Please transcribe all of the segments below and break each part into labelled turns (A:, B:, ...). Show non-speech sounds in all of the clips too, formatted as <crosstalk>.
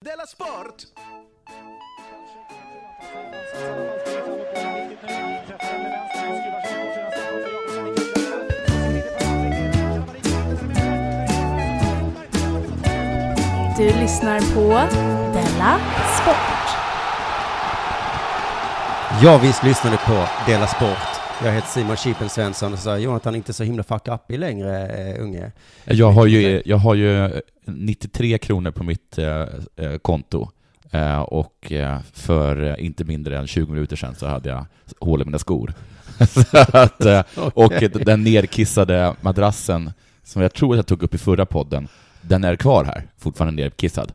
A: Della Sport!
B: Du lyssnar på Della Sport.
C: Jag visst lyssnade på Dela Sport. Jag heter Simon Chippen Svensson och så sa jag, Jonathan inte så himla fuck up i längre, eh, unge.
D: Jag har ju, jag har ju 93 kronor på mitt eh, eh, konto. Eh, och eh, för eh, inte mindre än 20 minuter sedan så hade jag hål i mina skor. <laughs> så att, eh, och
C: Okej.
D: den nerkissade madrassen som jag tror att jag tog upp i förra podden, den är kvar här, fortfarande nerkissad.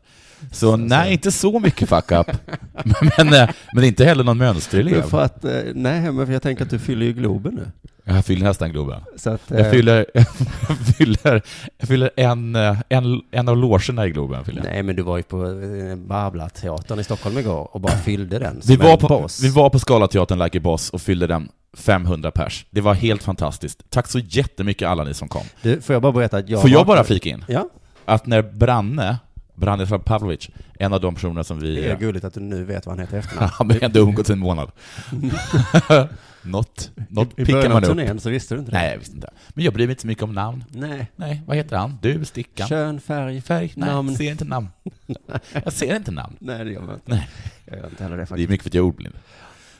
D: Så, nej, inte så mycket fuck up. <laughs> men, eh, men inte heller någon
C: Men
D: mönsterelev.
C: För att, eh, nej, men för jag tänker att du fyller ju Globen nu.
D: Jag fyller nästan Globen.
C: Så att, eh,
D: Jag fyller, <laughs> jag fyller, jag fyller en, eh, en, en av logerna i Globen. Fyller jag.
C: Nej, men du var ju på eh, Babbla-teatern i Stockholm igår och bara fyllde den
D: Vi
C: som
D: var,
C: en
D: på,
C: boss.
D: vi var på Scalateatern Like a Boss och fyllde den 500 pers. Det var helt fantastiskt. Tack så jättemycket alla ni som kom.
C: Du, får jag bara berätta att jag
D: Får jag
C: vaknade-
D: bara flika in?
C: Ja,
D: Att när Branne, Branne Pavlovic, en av de personerna som
C: det
D: vi... <laughs>
C: är gulligt att du nu vet vad han heter i efternamn.
D: Han har ändå umgåtts
C: <laughs>
D: en månad. något något
C: I
D: pickar
C: början av
D: man upp.
C: turnén så visste du inte det.
D: Nej, jag visste inte. Men jag bryr mig inte så mycket om namn.
C: Nej.
D: Nej, vad heter han? Du, Stickan?
C: Kön, färg.
D: Färg? Nej,
C: Namn.
D: ser
C: <laughs>
D: inte namn. Jag ser inte namn.
C: Nej, det gör man inte.
D: Nej.
C: Jag gör inte heller det
D: Det är
C: faktiskt.
D: mycket för att jag är ordblind.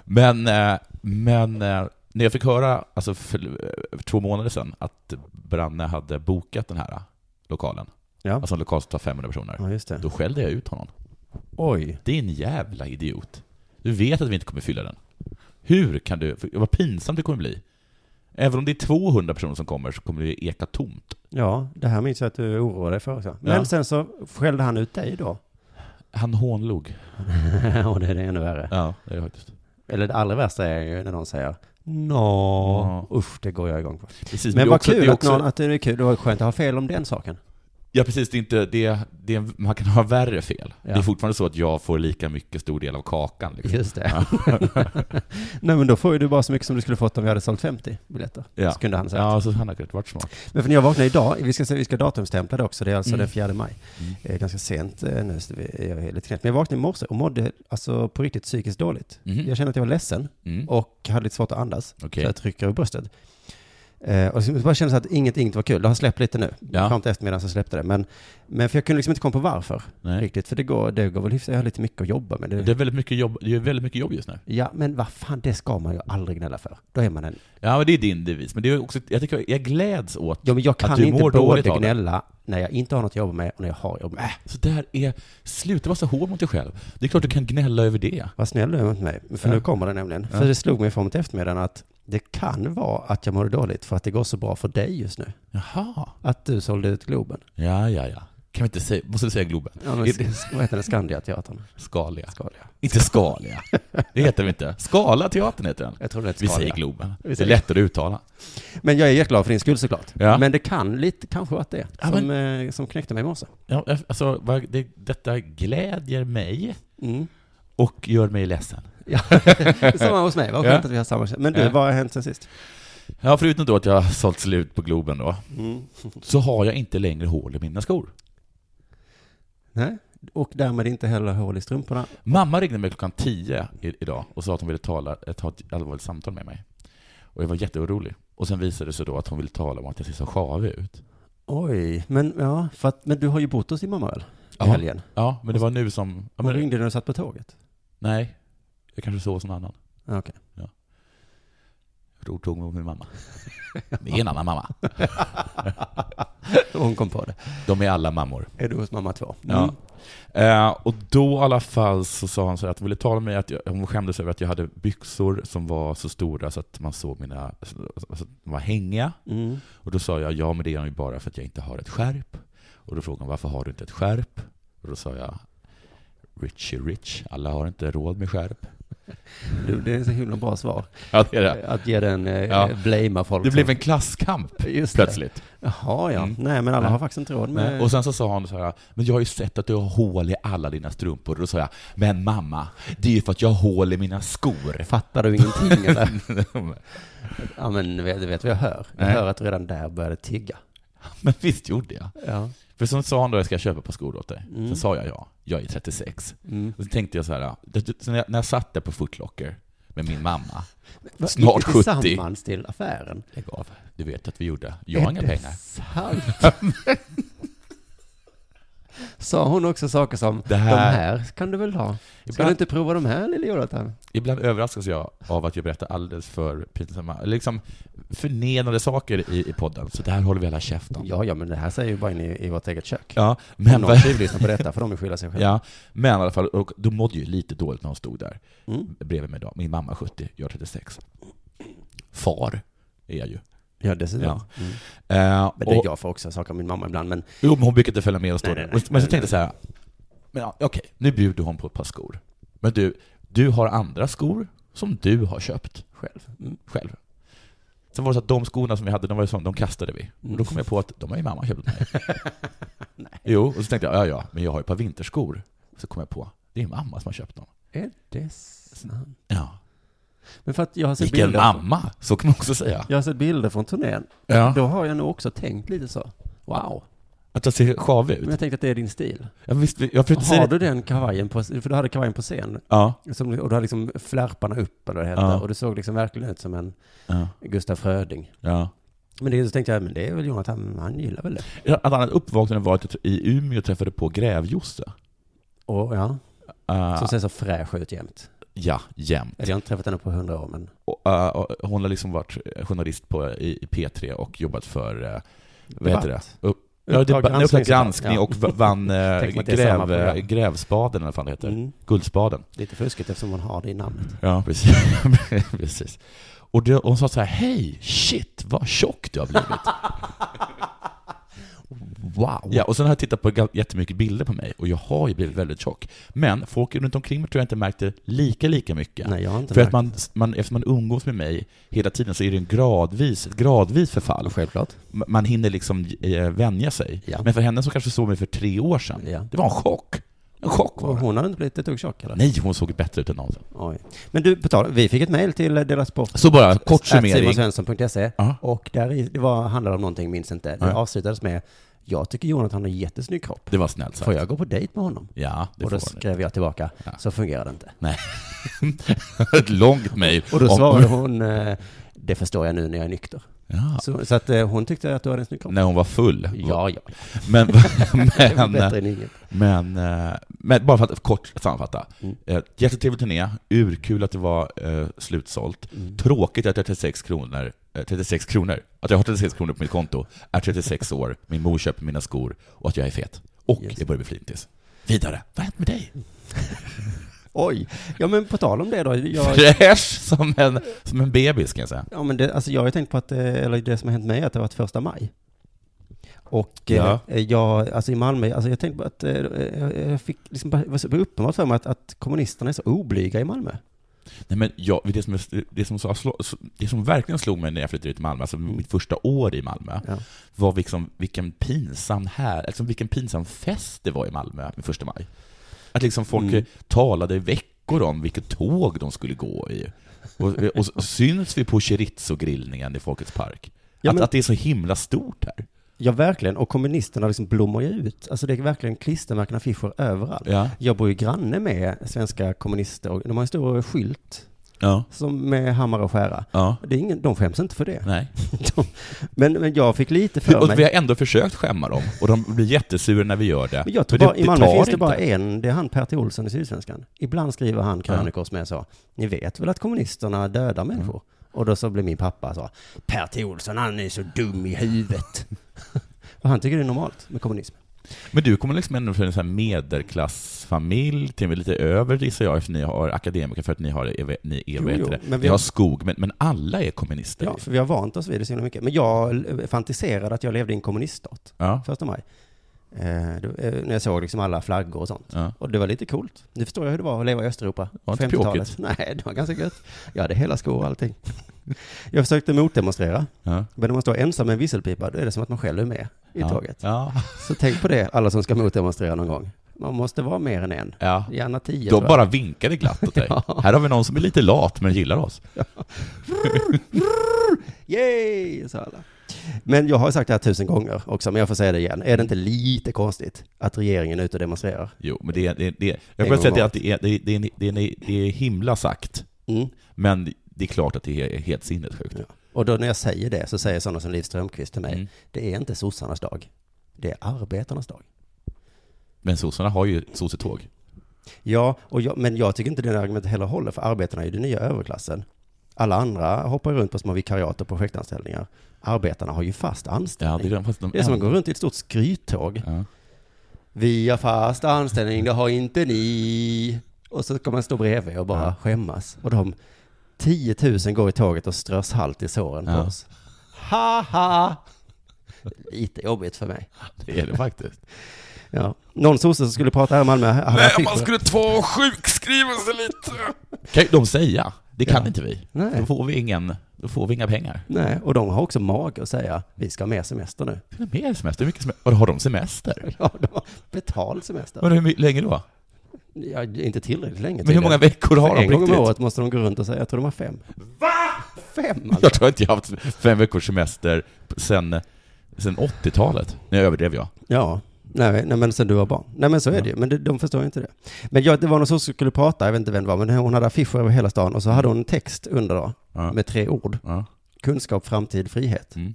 D: Men, eh, men eh, när jag fick höra, alltså för, eh, för två månader sedan, att Branne hade bokat den här eh, lokalen,
C: Ja.
D: alltså en lokal som tar 500 personer,
C: Ja, just det.
D: då skällde jag ut honom.
C: Oj.
D: Din jävla idiot. Du vet att vi inte kommer fylla den. Hur kan du, för vad pinsamt det kommer bli. Även om det är 200 personer som kommer så kommer det ju eka tomt.
C: Ja, det här minns jag att du oroade dig för också. Men
D: Ja.
C: sen så skällde han ut dig då.
D: Han hånlog.
C: <laughs> och det är det ännu värre.
D: Ja, det är faktiskt.
C: Eller det allra värsta är ju när någon säger Nå, usch, det går jag igång på.
D: Precis,
C: Men
D: det är
C: vad
D: också- det
C: kul
D: är
C: att,
D: också-
C: någon, att det är kul, det var skönt att ha fel om den saken.
D: Ja precis, det är inte, det, det, är- man kan ha värre fel.
C: Ja.
D: Det är fortfarande så att jag får lika mycket stor del av kakan. Liksom.
C: Just det. <laughs> Nej men då får ju du bara så mycket som du skulle fått om vi hade sålt 50 biljetter.
D: Ja.
C: Så kunde han säga.
D: Ja, så han har kunnat varit smart.
C: Men för när jag vaknade idag, vi ska, se- vi ska datumstämpla det också, det är alltså
D: Mm.
C: den 4 maj.
D: Mm.
C: Det är ganska sent eh, nu, så det är lite knäppt. Men jag vaknade i morse och mådde alltså på riktigt psykiskt dåligt.
D: Mhm.
C: Jag kände att jag var ledsen
D: Mm.
C: och hade lite svårt att andas.
D: Okej.
C: Så jag trycker i bröstet. Eh, och det bara kändes att inget, inget var kul. Det har släppt lite nu.
D: Ja.
C: Fram till eftermiddagen så släppte det. Men, men för jag kunde liksom inte komma på varför
D: Nej.
C: riktigt. För det går, det går väl hyfsat. Jag har lite mycket att jobba med. Det,
D: Det är väldigt mycket jobb, det är väldigt mycket jobb just nu.
C: Ja, men vad fan, det ska man ju aldrig gnälla för. Då är man en...
D: Ja, men det är din devis. Men det är också, jag, tycker, jag gläds åt
C: Ja, men jag
D: att
C: kan
D: du
C: inte
D: mår
C: både
D: dåligt av det.
C: gnälla när jag inte har något att jobba med och när jag har jobb med.
D: Äh, så där är, sluta vara så hård mot dig själv. Det är klart du kan gnälla över det.
C: Vad snäll du är mot mig. För nu kommer det nämligen. För det slog mig fram till eftermiddagen att det kan vara att jag mår dåligt för att det går så bra för dig just nu.
D: Jaha.
C: Att du sålde ut Globen.
D: Ja, ja, ja. Kan vi inte säga, måste du säga Globen?
C: Ja, men,
D: Är det-
C: vad heter det? Skandiateatern?
D: Skaliga.
C: Skaliga.
D: Inte Skalia. Det heter vi inte. Skala teatern heter den.
C: Jag tror det är
D: Vi
C: Scala.
D: säger Globen.
C: Vi
D: Det är
C: säger-
D: lättare att uttala.
C: Men jag är jätteglad för din skull såklart.
D: Ja.
C: Men det kan lite kanske vara att det är
D: Ja,
C: som, eh, som knäckte mig i morse.
D: Ja, alltså, vad- det, detta glädjer mig
C: Mm.
D: och gör mig ledsen.
C: <laughs> Samma hos mig, vad skönt
D: Ja.
C: att vi har samma Men du,
D: Ja.
C: vad har hänt sen sist?
D: Ja, förutom då att jag har sålt slut på Globen då,
C: Mm.
D: så har jag inte längre hål i mina skor.
C: Nej? Och därmed inte heller hål i strumporna.
D: Mamma ringde mig klockan 10 i, idag och sa att hon ville tala, eh, ta ett allvarligt samtal med mig. Och jag var jätteorolig. Och sen visade det sig då att hon ville tala om att jag ser så sjavig ut.
C: Oj, men ja, för att, men du har ju bott hos din mamma väl? I
D: Ja.
C: helgen.
D: Ja, men det var nu som... Ja,
C: Hon
D: men,
C: ringde när du satt på tåget. <laughs>
D: nej, jag kanske såg som någon annan.
C: Ja, Okej.
D: Rortog mot min mamma. <laughs> Det är en annan mamma.
C: Hon kom på det.
D: De är alla mammor.
C: Är du hos mamma två?
D: Ja.
C: Mm.
D: Eh, och då i alla fall så sa hon så här att hon ville tala med mig, att jag, hon skämdes över att jag hade byxor som var så stora så att man såg mina, så, så, så, de var hängiga.
C: Mm.
D: Och då sa jag, ja men det är de ju bara för att jag inte har ett skärp. Och då frågade hon, varför har du inte ett skärp? Och då sa jag, Richie Rich, alla har inte råd med skärp.
C: Du, det är så himla bra svar.
D: Ja, det är det.
C: Att ge den, eh,
D: Ja.
C: blamea folk.
D: Det blev
C: som-
D: en klasskamp
C: Just det.
D: plötsligt.
C: Jaha, ja.
D: Mm.
C: Nej, men alla
D: Nej.
C: har faktiskt inte råd med...
D: Och sen så sa hon så här, men jag har ju sett att du har hål i alla dina strumpor. Och då sa jag, men mamma, det är ju för att jag har hål i mina skor.
C: Fattar du
D: <laughs>
C: ingenting eller? ja men du vet, du vet vad jag hör. Jag
D: Nej.
C: hör att du redan där började tigga.
D: <laughs> Men visst gjorde jag.
C: Ja.
D: För så sa han då, jag ska köpa ett par skor åt dig.
C: Mm.
D: Sen sa jag ja, jag är 36.
C: Mm.
D: Och så tänkte jag så här, det- det- så när jag- när jag satt där på Footlocker med min mamma,
C: Va,
D: Snart
C: gick ni
D: 70.
C: tillsammans till affären.
D: lägg av, du vet att vi gjorde, jag har
C: Är
D: inga
C: det
D: pengar.
C: sant? Sa hon också saker som
D: Det
C: de
D: här-
C: här kan du väl ha? Ska
D: Ibland-
C: du inte prova de här lille Jonathan?
D: Ibland överraskas jag av att jag berättar alldeles för pinsamma, eller liksom förnedrande saker i, i podden. Så det här håller vi alla käften om.
C: Ja, ja, men det här säger ju bara in i, i vårt eget kök.
D: Ja,
C: Men
D: men,
C: någon ska ju lyssna på detta, för de är skylla sig själva.
D: ja, men i alla fall, och då mådde jag ju lite dåligt när hon stod där
C: Mm.
D: bredvid mig. Då. Min mamma 70, jag 36. Far är jag ju.
C: Ja, dessutom.
D: Ja.
C: Mm.
D: Eh,
C: Men det
D: och,
C: jag får också saker av min mamma ibland, men
D: jo, men hon brukar inte följa med och stå
C: Nej,
D: där.
C: nej,
D: Men
C: nej,
D: så tänkte jag så här, men ja, okej, nu bjuder hon på ett par skor. Men du, du har andra skor som du har köpt.
C: själv. Mm.
D: själv. Sen var det så att de skorna som vi hade, de, var ju sån, de kastade vi. Och
C: Mm.
D: då kom jag på att de har ju mamma köpt åt mig.
C: <laughs>
D: Jo, och så tänkte jag, ja ja, men jag har ju ett par vinterskor. Så kom jag på, det är mamma som har köpt dem.
C: Är det sant?
D: Ja.
C: Men för att jag har sett
D: Vilken
C: bilder.
D: mamma! Så kan man också säga.
C: Jag har sett bilder från turnén.
D: Ja.
C: Då har jag nog också tänkt lite så. Wow.
D: Att jag ser sjavig
C: Men
D: ut.
C: jag tänkte att det är din stil.
D: Jag, visst, jag försökte säga
C: Har
D: det.
C: du den kavajen på, för du hade kavajen på scen.
D: Ja.
C: Som, och du hade liksom flärparna upp eller vad det hette.
D: Ja.
C: Och du såg liksom verkligen ut som en
D: Ja.
C: Gustaf Fröding.
D: ja.
C: Men det, så tänkte jag, men det är väl Jonathan, han gillar väl det.
D: Ett annat uppvaknande var att jag i Umeå träffade på Grävjosse.
C: Och ja,
D: Eh,
C: som ser så fräsch ut jämt.
D: ja, jämt.
C: Eller jag har inte träffat henne på hundra år, men
D: Och, eh, och hon har liksom varit journalist på, i, i P3 och jobbat för, eh, vad heter det?
C: Debatt.
D: Upp, ja, det,
C: Uppdrag
D: Uppdrag granskning,
C: granskning,
D: granskning
C: ja.
D: och v- vann
C: <laughs>
D: eh,
C: Tänk mig att det är samma
D: gräv,
C: program.
D: grävspaden, eller vad fan det heter.
C: Mm.
D: Guldspaden.
C: lite fuskigt eftersom hon har det i namnet.
D: Ja, <laughs> precis. precis. Och det, hon sa så här, hej, shit, vad tjock du har blivit.
C: <laughs> Wow.
D: ja, och sen har jag tittat på ga- jättemycket bilder på mig, och jag har ju blivit väldigt tjock. Men folk runt omkring mig tror jag inte märkte lika, lika mycket.
C: Nej, jag har inte
D: För
C: märkt
D: att man, man, eftersom man umgås med mig hela tiden så är det en gradvis, ett gradvis förfall.
C: det. Självklart.
D: M- Man hinner liksom eh, vänja sig.
C: Ja.
D: Men för henne som kanske såg mig för tre år sedan,
C: Ja.
D: det var en chock. En chock var
C: Och
D: det.
C: hon hade inte blivit ett dugg tjock eller?
D: Nej, hon såg bättre ut än någonsin.
C: Oj. Men du, på tal, vi fick ett mejl till eh, Dela Sport.
D: Så bara, kort summering.
C: simonsvensson.se.
D: Ja.
C: Och där i, det var, handlade om någonting, minns inte. Det
D: Nej.
C: avslutades med, jag tycker Jonathan har jättesnygg kropp.
D: Det var snällt sagt.
C: Får jag gå på dejt med honom?
D: Ja, det
C: och då
D: får ni.
C: skrev jag tillbaka,
D: Ja.
C: så fungerar det inte.
D: Nej. <laughs> Ett långt mejl.
C: Och då
D: om-
C: svarade hon, eh, det förstår jag nu när jag är nykter.
D: Ja.
C: Så, så att eh, hon tyckte att du hade en snygg kropp.
D: När hon var full.
C: Ja, ja.
D: Men, <laughs>
C: Det var bättre
D: men,
C: än inget.
D: men, eh, men bara för att kort sammanfatta.
C: Mm.
D: Eh, Jättetrevlig turné, urkul att det var eh, slutsålt.
C: Mm.
D: Tråkigt att jag har 36 kronor, eh, 36 kronor, att jag har 36 kronor på mitt konto, är 36 år, min mor köper mina skor och att jag är fet. Och
C: Just.
D: jag börjar bli flintis. Vidare, vad har hänt med dig?
C: Oj. Ja, men på tal om det då.
D: <laughs>
C: Jag,
D: Fräsch som en, som en bebis kan jag säga.
C: Ja, men det, alltså jag har ju tänkt på att, eh, eller det som har hänt mig är att det har varit första maj. Och
D: Ja.
C: eh, jag, alltså i Malmö, alltså jag tänkte på att, eh, jag jag fick liksom bara, det var så uppenbart för mig att, att kommunisterna är så oblyga i Malmö.
D: Nej, men jag, det, som, det, som, så- det som verkligen slog mig när jag flyttade till Malmö, alltså
C: Mm.
D: mitt första år i Malmö,
C: Ja.
D: var liksom, vilken, pinsam här, alltså vilken pinsam fest det var i Malmö med första maj. Att liksom folk
C: Mm.
D: eh, talade i veckor om vilket tåg de skulle gå i. Och, och, och syns vi på chorizo-grillningen i Folkets park?
C: Ja,
D: att,
C: men-
D: att det är så himla stort här.
C: Ja, verkligen. Och kommunisterna liksom blommar ju ut. Alltså det är verkligen klistermärken, affischer överallt.
D: Ja.
C: Jag bor ju granne med svenska kommunister och de har en stor skylt
D: Ja.
C: som med hammare och skära.
D: ja.
C: Det är ingen, de skäms inte för det.
D: Nej.
C: <laughs> De, men, men jag fick lite för
D: Och vi
C: mig.
D: har ändå försökt skämma dem, och de blir jättesura när vi gör det.
C: Men jag tror
D: Men
C: bara, i Malmö
D: tar
C: finns det
D: inte.
C: bara en, det är han Pertti Olsson i Sydsvenskan. Ibland skriver han krönikor som jag sa, ni vet väl att kommunisterna dödar
D: Mm.
C: människor? Och då så blev min pappa så, Pertti Olsson han är så dum i huvudet. <laughs> och han tycker det är normalt med kommunism.
D: Men du kommer liksom ändå från en sån här medelklassfamilj, till och med lite över gissar jag, för ni har akademiker, för att ni har, är- ni är, vad
C: Jo,
D: heter
C: jo,
D: det?
C: men vi
D: ni har
C: har-
D: skog, men, men alla är kommunister. liksom.
C: Ja, för vi har vant oss vid det så himla mycket. Men jag eh, fantiserade att jag levde i en kommuniststat,
D: Ja,
C: första maj. Eh, då, eh, när jag såg liksom alla flaggor och sånt.
D: ja.
C: Och det var lite coolt. Nu förstår jag hur det var att leva i Östeuropa.
D: Var inte
C: 50-talet. <laughs> Nej, det var ganska gött. Jag hade hela skor och allting. Jag försökte motdemonstrera.
D: ja.
C: Men när man står ensam med en visselpipa, då är det som att man själv är med i
D: ja.
C: tåget.
D: Ja.
C: Så tänk på det, alla som ska motdemonstrera någon gång. Man måste vara mer än en. <laughs>
D: ja.
C: Gärna tio.
D: De
C: tror jag.
D: bara vinkade glatt åt dig.
C: <laughs> Ja.
D: Här har vi någon som är lite lat, men gillar oss.
C: Yay, sa alla. Men jag har sagt det här tusen gånger också, men jag får säga det igen. Är det inte lite konstigt att regeringen är ute och demonstrerar?
D: Jo, men det är... Det, det, jag
C: En
D: får
C: gång
D: säga att det,
C: var
D: att det, är, det, det, är- det, är- det är himla sagt,
C: Mm.
D: men det är klart att det är helt sinnessjukt.
C: Ja. Och då när jag säger det så säger sådana som Liv Strömquist till mig,
D: Mm.
C: det är inte sossarnas dag. Det är arbetarnas dag.
D: Men sossarna har ju sossetåg.
C: Ja, och jag, men jag tycker inte det argumentet heller håller, för arbetarna är ju den nya överklassen. Alla andra hoppar runt på små vikariat och projektanställningar. Arbetarna har ju fast
D: Ja,
C: anställning.
D: det, är de, fast de
C: det är som att gå runt i ett stort skryttåg.
D: Ja.
C: Vi har fast anställning, det har inte ni. Och så kommer man stå bredvid och bara
D: Ja.
C: skämmas. Och de 10 000 går i tåget och strös halt i såren
D: Ja.
C: på oss. Haha! Lite jobbigt för mig.
D: Det är det faktiskt.
C: Ja. Någon sosse som skulle prata här i Malmö, han fick-
D: ta och sjukskriva sig lite. Kan ju de säga. Det kan
C: Ja.
D: inte vi.
C: Nej.
D: Då får vi, ingen, då får vi inga pengar.
C: Nej, och de har också mag att säga vi ska ha mer semester nu.
D: Det är mer semester. Hur mycket semester? Vadå, Har de semester?
C: <laughs> Ja, de har betald semester.
D: Men hur my- länge då?
C: Ja, inte tillräckligt länge
D: Men hur
C: tydligen.
D: många veckor har
C: För
D: de
C: En
D: på
C: gång om
D: riktigt?
C: året måste de gå runt och säga, jag tror de har fem. Va? Fem alltså.
D: Jag tror inte jag har haft fem veckors semester sen, sen 80-talet. Nu överdrev jag.
C: Ja, nej, nej men sen du var barn. Nej men så är det ju, men det, de förstår ju inte det. Men jag, det var någon som skulle prata, jag vet inte vem det var, men hon hade affischer över hela stan och så hade hon en text under då,
D: Ja.
C: med tre ord.
D: Ja.
C: Kunskap, framtid, frihet.
D: Mm.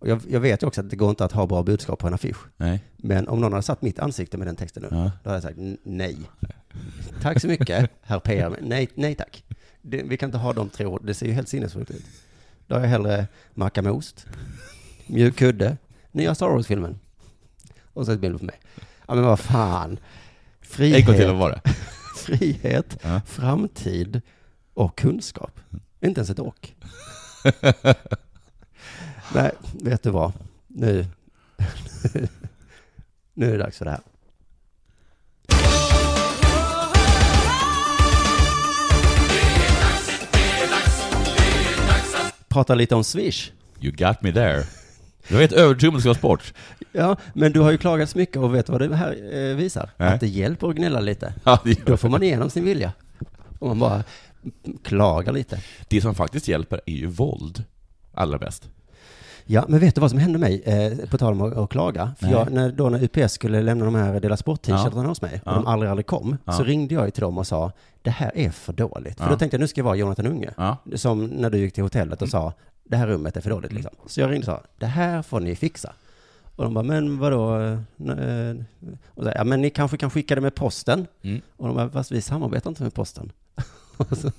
C: Och jag, jag vet ju också att det går inte att ha bra budskap på en affisch.
D: Nej.
C: Men om någon hade satt mitt ansikte med den texten nu,
D: Ja.
C: då hade jag sagt "N- nej. Tack så mycket, herr PM. Nej, nej tack. Det, vi kan inte ha de tre orden, det ser ju helt sinnessjukt ut. Då har jag hellre macka med ost, mjuk kudde, nya Star Wars-filmen. Och så ett bild på mig. Ja men vad fan.
D: En gång till
C: Frihet,
D: var det.
C: frihet
D: Ja.
C: framtid och kunskap. Inte ens ett
D: <laughs>
C: och. Nej, vet du vad? Nu, nu är det dags för det här. Prata lite om Swish.
D: You got me there. Det var helt övertygad om det skulle vara sport.
C: Ja, men du har ju klagats mycket och vet vad det här eh, visar?
D: Nej.
C: Att det hjälper att gnälla lite.
D: Ja, det gör
C: Då får man igenom sin vilja. Om man bara klagar lite.
D: Det som faktiskt hjälper är ju våld. Allra bäst.
C: Ja, men vet du vad som hände mig, eh, på tal om att, att klaga? För
D: Nej.
C: jag, när, då när UPS skulle lämna de här Dela Sport-t-shirtarna hos mig, och
D: Ja.
C: de aldrig, aldrig kom,
D: Ja.
C: så ringde jag ju till dem och sa, det här är för dåligt. För
D: Ja.
C: då tänkte jag, nu ska jag vara Jonathan Unge.
D: Ja.
C: Som när du gick till hotellet
D: Mm.
C: och sa, det här rummet är för dåligt liksom. Så jag ringde och sa, det här får ni fixa. Och de bara, men vadå? eh, n- eh?" Och så, ja, men ni kanske kan skicka det med posten?
D: Mm.
C: Och de bara, fast vi samarbetar inte med posten. <laughs> Och så,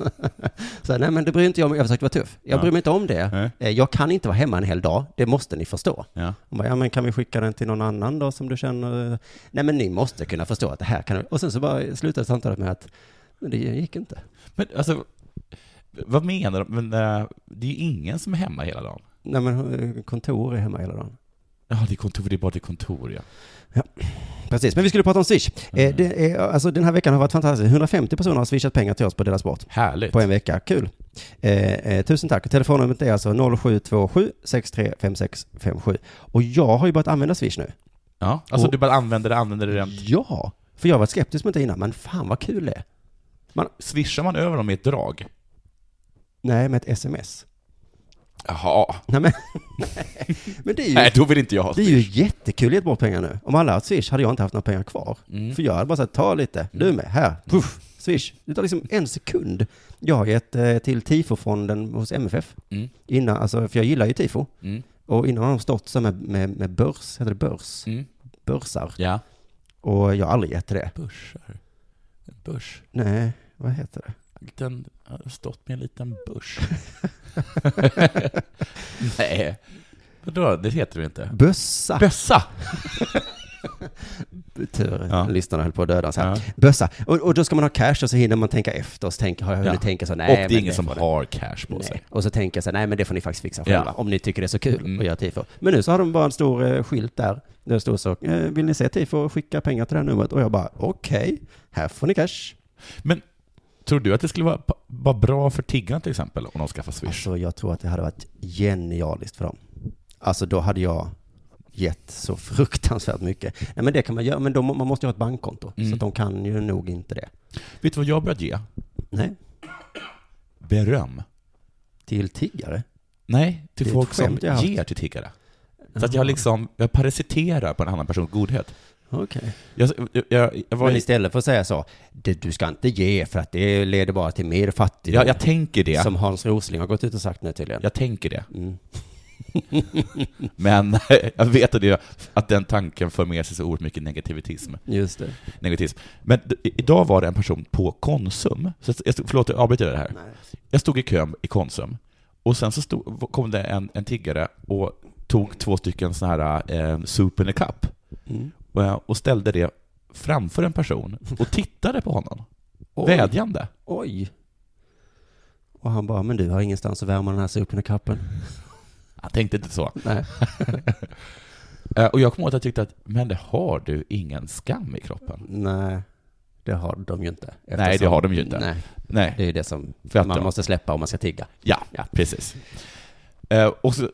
C: så nej men det bryr inte jag mig jag försökte vara tuff. Jag
D: Ja.
C: bryr mig inte om det.
D: Nej.
C: Eh, Jag kan inte vara hemma en hel dag, det måste ni förstå.
D: Ja.
C: Hon bara, ja men kan vi skicka den till någon annan då som du känner? Nej men ni måste kunna förstå att det här kan... Och sen så bara slutade samtalet med att, men det gick inte.
D: Men alltså, vad menar de? Men, eh, det är ju ingen som är hemma hela dagen.
C: Nej men eh, kontor är hemma hela dagen.
D: Ja, det är kontor, det är bara till kontor ja.
C: Precis, men vi skulle prata om Swish. Eh, det är, alltså, den här veckan har varit fantastisk. 150 personer har swishat pengar till oss på Dela Sport.
D: Härligt.
C: På en vecka, kul. Eh, eh, tusen tack. Telefonnumret är alltså 0727 635657. Och jag har ju börjat använda Swish nu.
D: Ja, alltså
C: Och-
D: du bara använder det, använder det rent.
C: Ja, för jag har varit skeptisk mot det innan, men fan vad kul det är.
D: Swishar man över dem i ett drag?
C: Nej, med ett sms.
D: Jaha.
C: Nej men, <laughs> men det är ju,
D: Nej, då vill inte jag ha
C: det är ju jättekul att ge bort pengar nu. Om alla hade swish hade jag inte haft några pengar kvar.
D: Mm.
C: För jag hade bara sagt, ta lite, du med, här, puff, swish. Det tar liksom en sekund. Jag har gett eh, till tifofonden hos MFF.
D: Mm.
C: Innan, alltså, för jag gillar ju tifo.
D: Mm.
C: Och innan har de stått så med, med, med börs, heter det börs?
D: Mm.
C: Börsar.
D: Ja.
C: Och jag har aldrig gett till det.
D: Börsar. En börs.
C: Nej, vad heter det?
D: Liten, jag har stått med en liten börs. <laughs> Nej. Vadå, det heter det inte.
C: Bössa.
D: Bössa!
C: Tur,
D: Ja.
C: lyssnarna höll på att döda oss här.
D: Ja.
C: Bössa. Och, och då ska man ha cash och så hinner man tänka efter och så tänker, har jag hunnit
D: Ja.
C: tänka så? Nej,
D: Och det
C: men
D: är ingen som
C: får det.
D: har cash på sig.
C: Nej. Och så tänker jag så här, nej men det får ni faktiskt fixa själva,
D: Ja.
C: om ni tycker det är så kul
D: Mm.
C: att göra tifo. Men nu så har de bara en stor eh, skylt där, där det står så, eh, vill ni se tifo, skicka pengar till det här numret. Och jag bara, okej, här får ni cash.
D: Tror du att det skulle vara, vara bra för tiggarna till exempel, om de skaffar Swish?
C: Alltså jag tror att det hade varit genialiskt för dem. Alltså då hade jag gett så fruktansvärt mycket. Nej men det kan man göra, men de, man måste ju ha ett bankkonto.
D: Mm.
C: Så att de kan ju nog inte det.
D: Vet du vad jag har börjat ge?
C: Nej,
D: Beröm.
C: till tiggare.
D: Nej, till
C: Det är ett
D: folk som
C: skämt jag har haft.
D: ger till tiggare. Så att jag liksom, jag parasiterar på en annan persons godhet.
C: Okej.
D: Jag, jag, jag, jag, var
C: Men
D: lite,
C: istället för att säga så, "Det- du ska inte ge för att det leder bara till mer fattigdom.
D: jag, jag tänker det.
C: Som Hans Rosling har gått ut och sagt nu tydligen.
D: Jag tänker det.
C: Mm.
D: Men <laughs> jag vet att, det, att den tanken för med sig så oerhört mycket negativitism.
C: Just det.
D: negativism. Men d- i- idag var det en person på Konsum, så jag stod, förlåt jag avbryter det här.
C: Nej.
D: Jag stod i kön i Konsum, och sen så stod, kom det en, en tiggare och tog två stycken sådana här eh, soup in a cup
C: Mm.
D: och, eh, och ställde det framför en person och tittade på honom,
C: Oj.
D: vädjande.
C: Oj. Och han bara, men du har ingenstans att värma den här sopen och kappen.
D: <laughs> Jag tänkte inte så.
C: Nej.
D: Eh, och jag kom ihåg att jag tyckte att, men det har du ingen skam i kroppen?
C: Nej, det har de ju inte.
D: Nej, det har de ju inte.
C: Nej,
D: Nej.
C: det är ju det som
D: För att
C: man
D: de-
C: måste släppa om man ska tigga.
D: Ja,
C: Ja.
D: precis. Eh, och, så,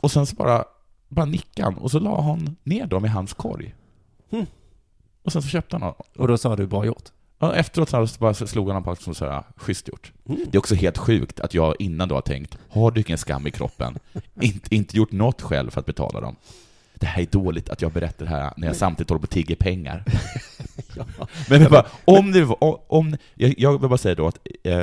D: och sen så bara, bara nickade han och så la han ner dem i hans korg.
C: Hmm.
D: Och sen så köpte han dem.
C: Och då sa du, bra gjort.
D: Och efteråt så bara slog han dem på axeln och sa schysst gjort.
C: Mm.
D: Det är också helt sjukt att jag innan då har tänkt, har du ingen skam i kroppen? inte, inte gjort något själv för att betala dem. Det här är dåligt att jag berättar det här när jag samtidigt håller på och tigger pengar.
C: Ja.
D: Men jag bara, om det var, om- om, jag, jag vill bara säga då att eh,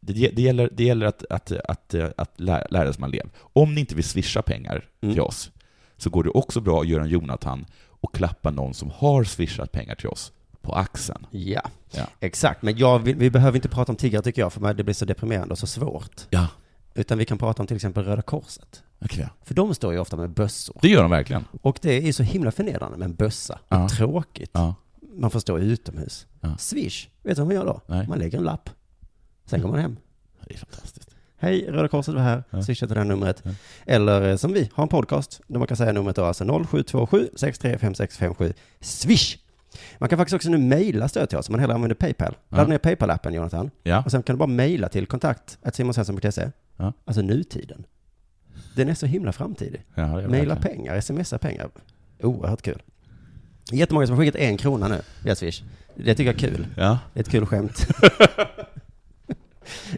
D: det, ge- det gäller, det gäller att, att, att, eh, att lära, lära sig man lev. Om ni inte vill swisha pengar
C: Mm.
D: till oss, så går det också bra att göra en Jonathan och klappa någon som har swishat pengar till oss på axeln.
C: Ja.
D: Ja.
C: exakt. Men jag vill, vi behöver inte prata om tiggare tycker jag, för det blir så deprimerande och så svårt.
D: Ja,
C: Utan vi kan prata om till exempel Röda Korset.
D: okej.
C: För de står ju ofta med bössor.
D: Det gör de verkligen.
C: Och det är så himla förnedrande med en bössa.
D: Ja.
C: Och tråkigt.
D: Ja.
C: Man får stå utomhus.
D: Ja.
C: Swish, vet du vad man gör då?
D: Nej.
C: Man lägger en lapp. Sen går man hem.
D: Det är fantastiskt.
C: Hej, Röda Korset var här.
D: Ja.
C: Swisha till det här numret.
D: Ja.
C: Eller eh, som vi, har en podcast. Där man kan säga numret då, alltså 0727 635657. Swish! Man kan faktiskt också nu mejla stöd till oss om man hellre använder Paypal.
D: Ja.
C: Ladda ner Paypal-appen, Jonathan.
D: Ja.
C: Och sen kan du bara mejla till kontakt simonsvensson.se.
D: Ja.
C: Alltså nutiden. Den är så himla framtidig.
D: ja det är
C: Mejla
D: verkligen.
C: pengar, smsa pengar. Oerhört kul. Jättemånga som har skickat en krona nu via Swish. Det tycker jag är kul.
D: Ja.
C: Det är ett kul
D: <laughs>
C: skämt.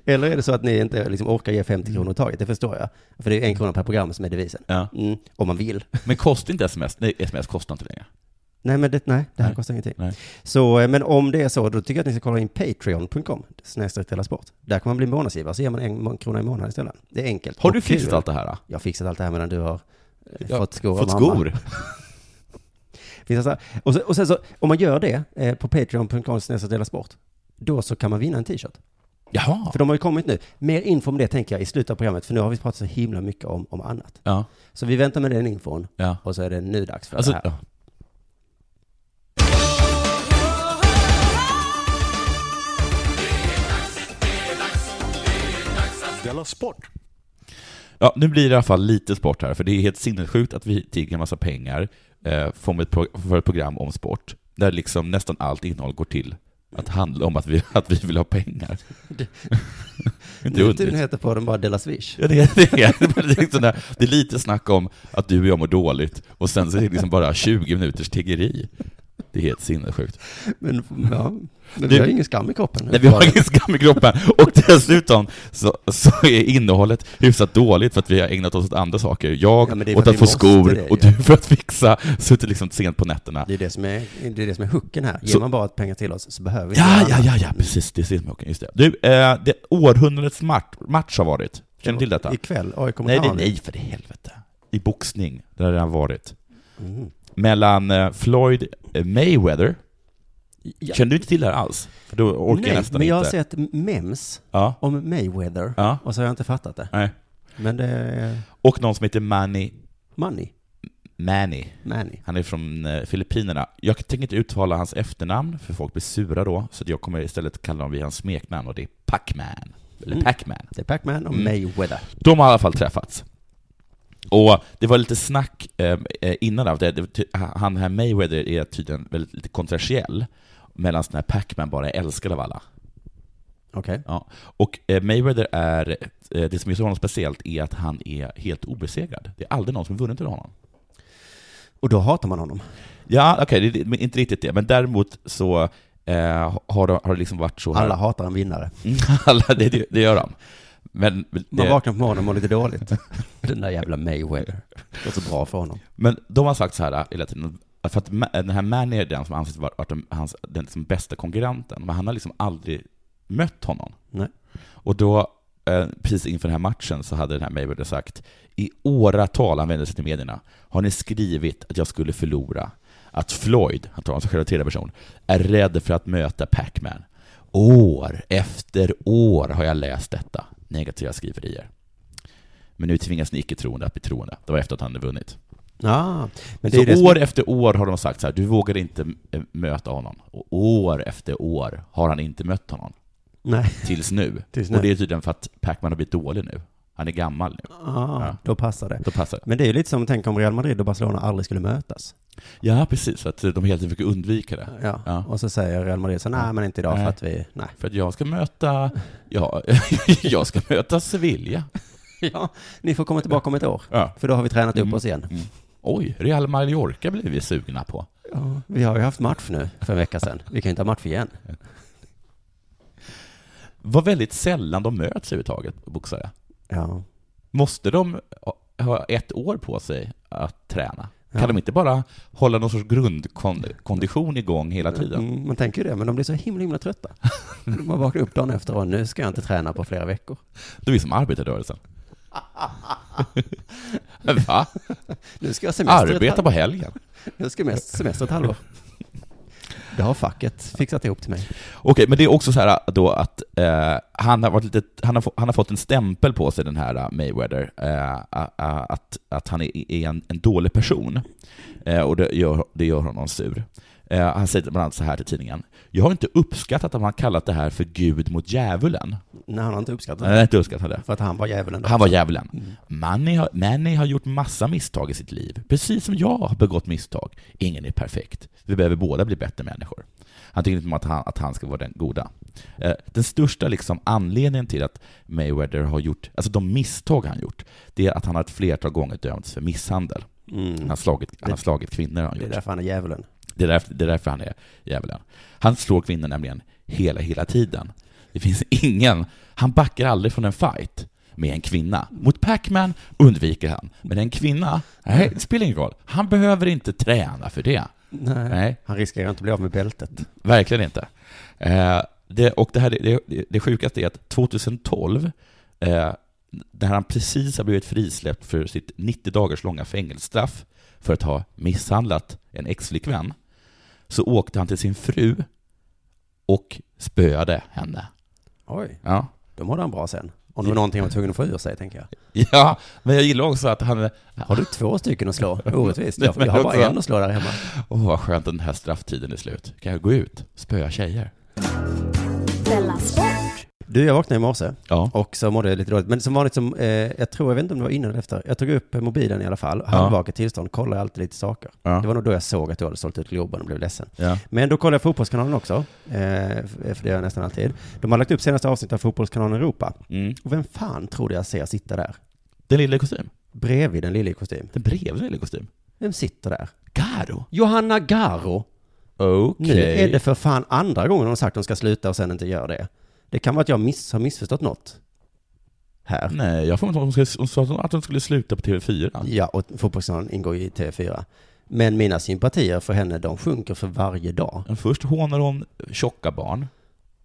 C: Eller är det så att ni inte liksom orkar ge 50 kronor taget? Det förstår jag. För det är en krona per program som är devisen.
D: Ja.
C: Mm, om man vill.
D: Men kostar inte sms? Nej, sms kostar inte längre.
C: Nej, men det, nej, det här
D: Nej.
C: kostar ingenting.
D: Nej.
C: Så, eh, men om det är så, då tycker jag att ni ska kolla in patreon.com, snedstreck Della sport. Där kan man bli månadsgivare, så ger man en må- krona i månaden istället. Det är enkelt.
D: Har
C: och
D: du fixat
C: kul.
D: allt det här? Då?
C: Jag har fixat allt det här medan du har eh,
D: Ja,
C: fått skor av
D: Fått
C: mamma.
D: skor?
C: Finns det så här? och, så, och sen så, om man gör det eh, på patreon.com, snedstreck Della sport, då så kan man vinna en t-shirt.
D: Jaha.
C: För de har ju kommit nu. Mer info om det tänker jag i slutet av programmet, för nu har vi pratat så himla mycket om, om annat.
D: Ja.
C: Så vi väntar med den infon,
D: ja.
C: och så är det nu dags för det
D: Alltså,
C: här.
D: ja.
A: Della Sport!
D: Ja, nu blir det i alla fall lite sport här, för det är helt sinnessjukt att vi tigger en massa pengar eh, för, ett pro- för ett program om sport, där liksom nästan allt innehåll går till att handla om att vi, att vi vill ha pengar.
C: Det-
D: <laughs> Inte
C: Nu tydligen
D: underligt.
C: heter podden bara Della Swish.
D: Ja, det, är, det, är, det, är liksom där, det är lite snack om att du och jag mår dåligt, och sen så är det liksom bara 20 minuters tiggeri. Det är helt sinnessjukt.
C: Men, <laughs> ja, men vi
D: Du-
C: har ju ingen skam i kroppen.
D: Nej, vi har ingen skam i kroppen, och dessutom så, så är innehållet hyfsat dåligt för att vi har ägnat oss åt andra saker. Jag
C: Ja, men det är för
D: åt
C: att
D: att få
C: vi måste
D: skor,
C: det ju.
D: och du för att fixa, suttit liksom sent på nätterna.
C: Det är det som är, det är, det som är hooken här. Ger
D: Så-
C: man bara ett pengar till oss så behöver vi
D: Ja,
C: göra
D: ja,
C: annat.
D: ja, ja, precis. Det är Sismoken, just det. Du, eh, det århundradets match, match har varit. Känner du till detta?
C: Ikväll, AIK mot
D: Nej, det,
C: Hammarby.
D: nej, för i helvete. I boxning, där har det har varit.
C: Mm.
D: Mellan eh, Floyd Mayweather,
C: Ja.
D: kände du inte till det här alls? För då orkar
C: Nej,
D: jag nästan
C: men jag har
D: inte.
C: sett mems
D: Ja,
C: om Mayweather.
D: ja,
C: Och så har jag inte fattat det.
D: nej.
C: Men det är
D: Och någon som heter Manny,
C: money,
D: Manny.
C: Manny.
D: Han är från eh, Filippinerna. Jag tänker inte uttala hans efternamn, för folk blir sura då, så att jag kommer istället kalla honom vid hans smeknamn, och det är Pacman. Eller
C: Mm.
D: Pacman.
C: Det är Pacman och
D: Mm.
C: Mayweather.
D: De har i alla fall träffats. Och det var lite snack eh, eh, innan, av det, det, ty- han här Mayweather är tydligen väldigt lite kontroversiell, medan den här Pacman bara är älskad av alla.
C: Okej.
D: Ja. Och eh, Mayweather är, eh, det som gör honom speciellt är att han är helt obesegrad. Det är aldrig någon som vunnit över honom.
C: Och då hatar man honom.
D: Ja, okej, det- det- men inte riktigt det, men däremot så eh, har, det, har det liksom varit så här.
C: Alla hatar
D: <laughs>
C: en vinnare.
D: alla det, det gör de. Men,
C: Man
D: det- <laughs>
C: vaknar på morgonen och mår lite dåligt. Den där jävla Mayweather. Det går så bra för honom.
D: Men de har sagt så här äh, hela tiden, för att ma- den här Manny är den som anses vara vara den, hans, den liksom bästa konkurrenten, men han har liksom aldrig mött honom.
C: Nej.
D: Och då, eh, precis inför den här matchen, så hade den här Mayweather sagt, i åratal, han vände sig till medierna, har ni skrivit att jag skulle förlora, att Floyd, han tar honom som själva tredje person, är rädd för att möta Pac-Man. År efter år har jag läst detta, negativa skriverier. Men nu tvingas ni icke-troende att bli troende. Det var efter att han hade vunnit.
C: Ja, men det är
D: Så
C: ju det som-
D: år efter år har de sagt så här, du vågar inte eh, möta honom. Och år efter år har han inte mött honom.
C: Nej,
D: Tills nu.
C: tills nu.
D: Och det är tydligen för att Pacman har blivit dålig nu. Han är gammal nu.
C: ja,
D: Ja.
C: Ah, då passar det.
D: Då passar det.
C: Men det är ju lite som, tänk om Real Madrid och Barcelona aldrig skulle mötas.
D: Ja, precis. Så att de hela tiden fick undvika det.
C: Ja.
D: Ja.
C: Och så säger Real Madrid så nej men inte idag
D: Nej.
C: för att vi, nej. <laughs>
D: För att jag ska möta, ja, <laughs> jag ska möta Sevilla.
C: Ja, ni får komma tillbaka om ett år.
D: Ja.
C: För då har vi tränat upp
D: Mm.
C: oss igen.
D: Oj, Real Mallorca blir vi sugna på.
C: Ja, vi har ju haft match nu för en vecka sedan. Vi kan ju inte ha match igen.
D: Vad väldigt sällan de möts överhuvudtaget, boxare.
C: Ja.
D: Måste de ha ett år på sig att träna?
C: Ja.
D: Kan de inte bara hålla någon sorts grundkondition igång hela tiden?
C: Mm, man tänker ju det, men de blir så himla, himla
D: <laughs>
C: trötta. Man vaknar upp dagen efter och nu ska jag inte träna på flera veckor.
D: Det är
C: <laughs>
D: som arbetarrörelsen. Va?
C: Nu ska jag semester, ett
D: Arbeta
C: halv-
D: på helgen?
C: nu ska jag semester ett
D: <laughs>
C: halvår. Det har facket fixat ihop till mig.
D: Okej, men det är också så här då att eh, han, har varit lite, han, har, få- han har fått en stämpel på sig, den här eh, Mayweather, eh, a- a- att, att han är, är en, en dålig person. Eh, och det gör, det gör honom sur. Eh, han säger bland annat så här till tidningen. Jag har inte uppskattat att man kallat det här för Gud mot djävulen.
C: Nej, han har inte uppskattat
D: Nej,
C: det.
D: jag har inte uppskattat det.
C: För att han var djävulen. då.
D: Eh. Han var djävulen. Manny har, Manny har gjort massa misstag i sitt liv, precis som jag har begått misstag. Ingen är perfekt. Vi behöver båda bli bättre människor. Han tycker inte om att han, att han ska vara den goda. Eh, den största liksom anledningen till att Mayweather har gjort, alltså de misstag han gjort, det är att han har ett flertal gånger dömts för misshandel. Han
C: Mm.
D: har slagit, han har slagit kvinnor. har Han
C: Det är
D: gjort.
C: därför han är djävulen.
D: Det är, därför, det är därför han är djävulen. Han slår kvinnor nämligen hela, hela tiden. Det finns ingen, han backar aldrig från en fight med en kvinna. Mot Pac-Man undviker han, men en kvinna, nej, det spelar ingen roll. Han behöver inte träna för det.
C: Nej.
D: Nej,
C: Han riskerar inte att bli av med bältet.
D: verkligen inte. Eh, det, och det, här, det, det, det sjukaste är att 2012, eh, när han precis har blivit frisläppt för sitt 90 dagars långa fängelsestraff för att ha misshandlat en exflickvän, så åkte han till sin fru och spöade henne.
C: Oj,
D: Ja.
C: då mådde han bra sen. Om det var någonting han var tvungen att få ur sig, tänker jag.
D: ja, men jag gillar också att han...
C: Har du två stycken att
D: <laughs>
C: slå? Orättvist. Jag, jag har bara en att slå där hemma.
D: Åh, vad skönt att den här strafftiden är slut. Kan jag gå ut? Spöa tjejer?
B: Della Sport.
C: Du, jag vaknade i morse
D: Ja.
C: och så mådde jag lite dåligt. Men som vanligt, som, eh, jag tror, jag vet inte om det var innan eller efter. Jag tog upp eh, mobilen i alla fall, halvvaket tillstånd, kollar alltid lite saker.
D: Ja.
C: Det var nog då jag såg att du hade sålt ut Globen och blev ledsen.
D: ja.
C: Men då kollar jag Fotbollskanalen också, eh, för det gör jag nästan alltid. De har lagt upp senaste avsnittet av Fotbollskanalen Europa.
D: Mm.
C: Och vem fan trodde jag ser sitta där?
D: Den lilla i kostym?
C: Bredvid den lille i kostym.
D: Den bredvid den lilla i kostym?
C: Vem sitter där?
D: Garo?
C: Johanna Garro! Nu
D: Okej.
C: är det för fan andra gången de har sagt att de ska sluta och sen inte gör det. Det kan vara att jag miss, har missförstått något. Här.
D: Nej, jag får inte ihåg om hon ska- hon sa att hon skulle sluta på TV4.
C: Ja, och fotbollskanalen ingår ju i TV4. Men mina sympatier för henne, de sjunker för varje dag.
D: Men Först hånar hon tjocka barn.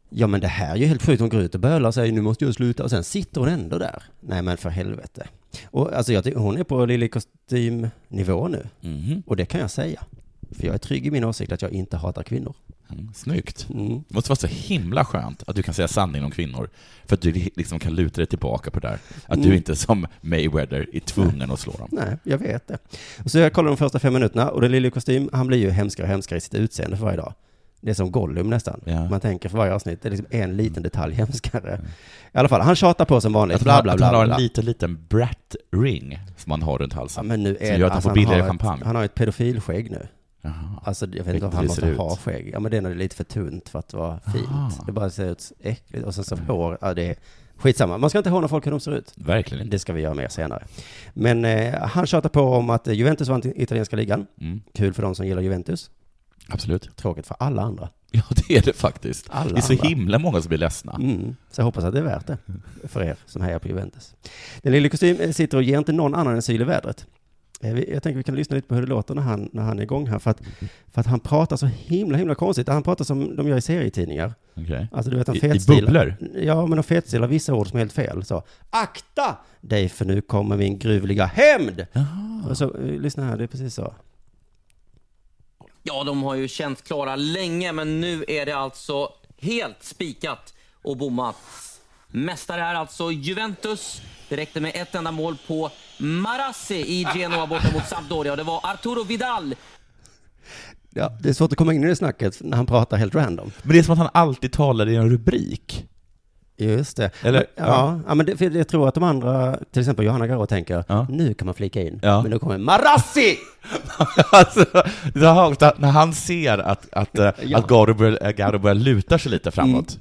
C: Ja, men det här är ju helt sjukt. Hon går ut och bölar och säger nu måste jag sluta och sen sitter hon ändå där. Nej, men för helvete. Och alltså, jag, ty- hon är på lille kostymnivå nu.
D: Mhm.
C: Och det kan jag säga. För jag är trygg i min åsikt att jag inte hatar kvinnor.
D: Mm, snyggt.
C: Mm.
D: Det måste vara så himla skönt att du kan säga sanningen om kvinnor, för att du liksom kan luta dig tillbaka på det där. Att du
C: Mm.
D: inte som Mayweather är tvungen att slå dem.
C: Nej, jag vet det. Och så jag kollar de första fem minuterna och den lille i kostym, han blir ju hemskare och hemskare i sitt utseende för varje dag. Det är som Gollum nästan.
D: Ja. Mm.
C: Man tänker för varje avsnitt, det är liksom en liten detalj hemskare. I alla fall, han tjatar på som vanligt.
D: Att
C: Bla,
D: han,
C: bla,
D: att han
C: bla,
D: har
C: bla.
D: en liten, liten brat ring som han har runt
C: Ja,
D: halsen.
C: men nu
D: Som
C: är
D: gör att han får billigare
C: har
D: champagne.
C: Ett, han har ett pedofilskägg nu.
D: Jaha.
C: Alltså, jag vet
D: Vilket
C: inte om han
D: det
C: måste
D: ser ut.
C: ha skägg. Ja, men det är nog lite för tunt för att vara fint.
D: Aha. Mm.
C: Det bara ser ut äckligt. Och sen så hår, ja det är skitsamma. Man ska inte håna folk hur de ser ut.
D: Verkligen inte.
C: Det ska vi göra mer senare. Men eh, han tjatar på om att Juventus vann den italienska ligan.
D: Mm.
C: Kul för de som gillar Juventus.
D: Absolut. <laughs>
C: Tråkigt för alla andra.
D: Ja, det är det faktiskt.
C: Alla
D: Det är så
C: andra.
D: himla många som blir ledsna.
C: Mm, så jag hoppas att det är värt det för er som hejar på Juventus. Den lille kostym eh, sitter och ger inte någon annan än syl i vädret. Eh, vi- Jag tänker vi kan lyssna lite på hur det låter när han, när han är igång här, för att, för att han pratar så himla, himla konstigt. Han pratar som de gör i serietidningar.
D: Okej.
C: Alltså du vet, en
D: I- i
C: fetstil.
D: bubblor?
C: Ja, men de fetstilar vissa ord som är helt fel. Så, akta dig för nu kommer min gruvliga hämnd! Och så, eh, lyssna här, det är precis så.
A: Ja, de har ju känts klara länge, men nu är det alltså helt spikat och bommat. Mästare är alltså Juventus. Det räckte med ett enda mål på Marassi i Genoa borta mot Sampdoria. Och Det var Arturo Vidal.
C: Ja, det är svårt att komma in i det snacket när han pratar helt random.
D: Men det är som att han alltid talar i en rubrik.
C: Just det.
D: Eller-
C: ja. Ja, men det, för jag tror att de andra, till exempel Johanna Garå tänker,
D: Ja.
C: nu kan man flika in.
D: Ja.
C: Men då kommer
D: <laughs>
C: Marassi!
D: alltså, det har hållit att när han ser att, att, eh,
C: Ja. Mm.
D: att Garo börjar, eh, Garo börjar luta sig lite framåt.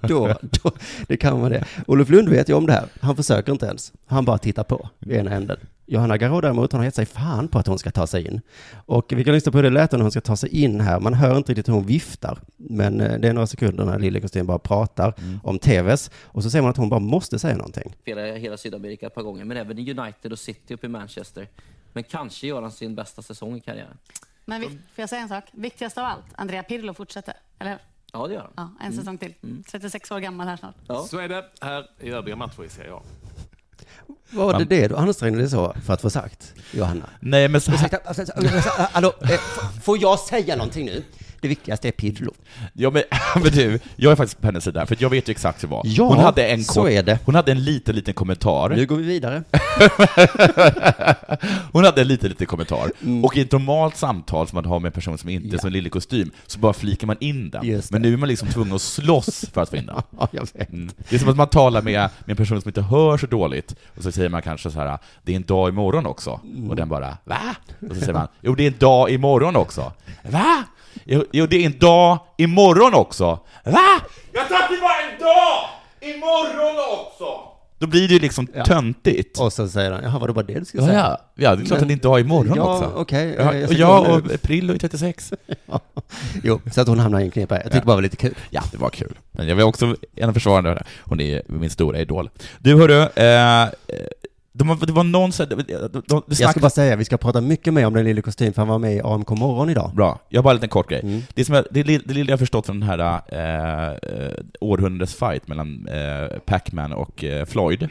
C: Då, då, det kan vara det. Olof Lund vet ju om det här. Han försöker inte ens. Han bara tittar på i ena änden. Johanna Garå däremot, hon har gett sig fan på att hon ska ta sig in. Och vi kan lyssna på hur det lät när hon ska ta sig in här. Man hör inte riktigt hur hon viftar. Men eh, det är några sekunder när Lille Kostym bara pratar
D: Mm.
C: om TVs. Och så ser man att hon bara måste säga någonting.
A: Spelade hela Sydamerika ett par gånger, men även i United och City uppe i Manchester. Men kanske gör han sin bästa säsong i karriären.
E: Men vi, får jag säga en sak? Viktigast av allt, Andrea Pirlo fortsätter, eller hur?
A: Ja, det gör han.
E: Ja, en säsong till. 36 år gammal här snart.
A: Ja.
F: Så är det här i övriga matcher i Serie A.
C: Var det det du ansträngde dig så för att få sagt, Johanna?
D: Nej, men så här,
C: Ursäkta, alltså, alltså, hallå, eh, f- får jag säga någonting nu? Det viktigaste är Pirlo.
D: ja, men, <laughs> men du, jag är faktiskt på hennes sida, för jag vet ju exakt hur det var.
C: Ja,
D: hon hade en
C: så
D: kort-
C: är det.
D: Hon hade en liten, liten kommentar.
C: Nu går vi
D: <laughs>
C: vidare.
D: Hon hade en liten, liten kommentar.
C: Mm.
D: Och i ett normalt samtal som man har med en person som inte är som en lille kostym, så bara flikar man in den.
C: Just det.
D: Men nu är man liksom tvungen att slåss för att få in den.
C: Ja, jag vet.
D: Mm. Det är som att man talar med, med en person som inte hör så dåligt, och så säger man kanske så här, det är en dag imorgon också, och den bara, va? Och så säger man, jo det är en dag imorgon också. Va? Jo, jo det är en dag imorgon också. Va? Jag sa att det var en dag imorgon också! Då blir det ju liksom töntigt.
C: Och så säger han, jaha, var det bara det du skulle
D: Ja,
C: säga?
D: ja. ja, det är klart
C: Men-
D: att det inte har imorgon
C: Ja,
D: också.
C: okej.
D: Ja,
C: Jag
D: och
C: ska
D: jag
C: gå
D: och Prillo är 36.
C: <laughs> Jo, så att hon hamnar i en knipa. Jag tyckte bara det var lite kul.
D: Ja, det var kul. Men jag vill också gärna försvara henne. Hon är min stora idol. Du, hörru. Eh, eh, de, har- det var någon så här- de, de, de, det
C: Jag ska
D: snackas-
C: bara säga, vi ska prata mycket mer om den lille kostym, för han var med i AMK morgon idag.
D: Bra. Jag har bara en liten kort grej.
C: Mm.
D: Det, som jag, det, li- det lilla jag har förstått från den här eh, eh, århundradets fight mellan eh, Pac-Man och eh, Floyd,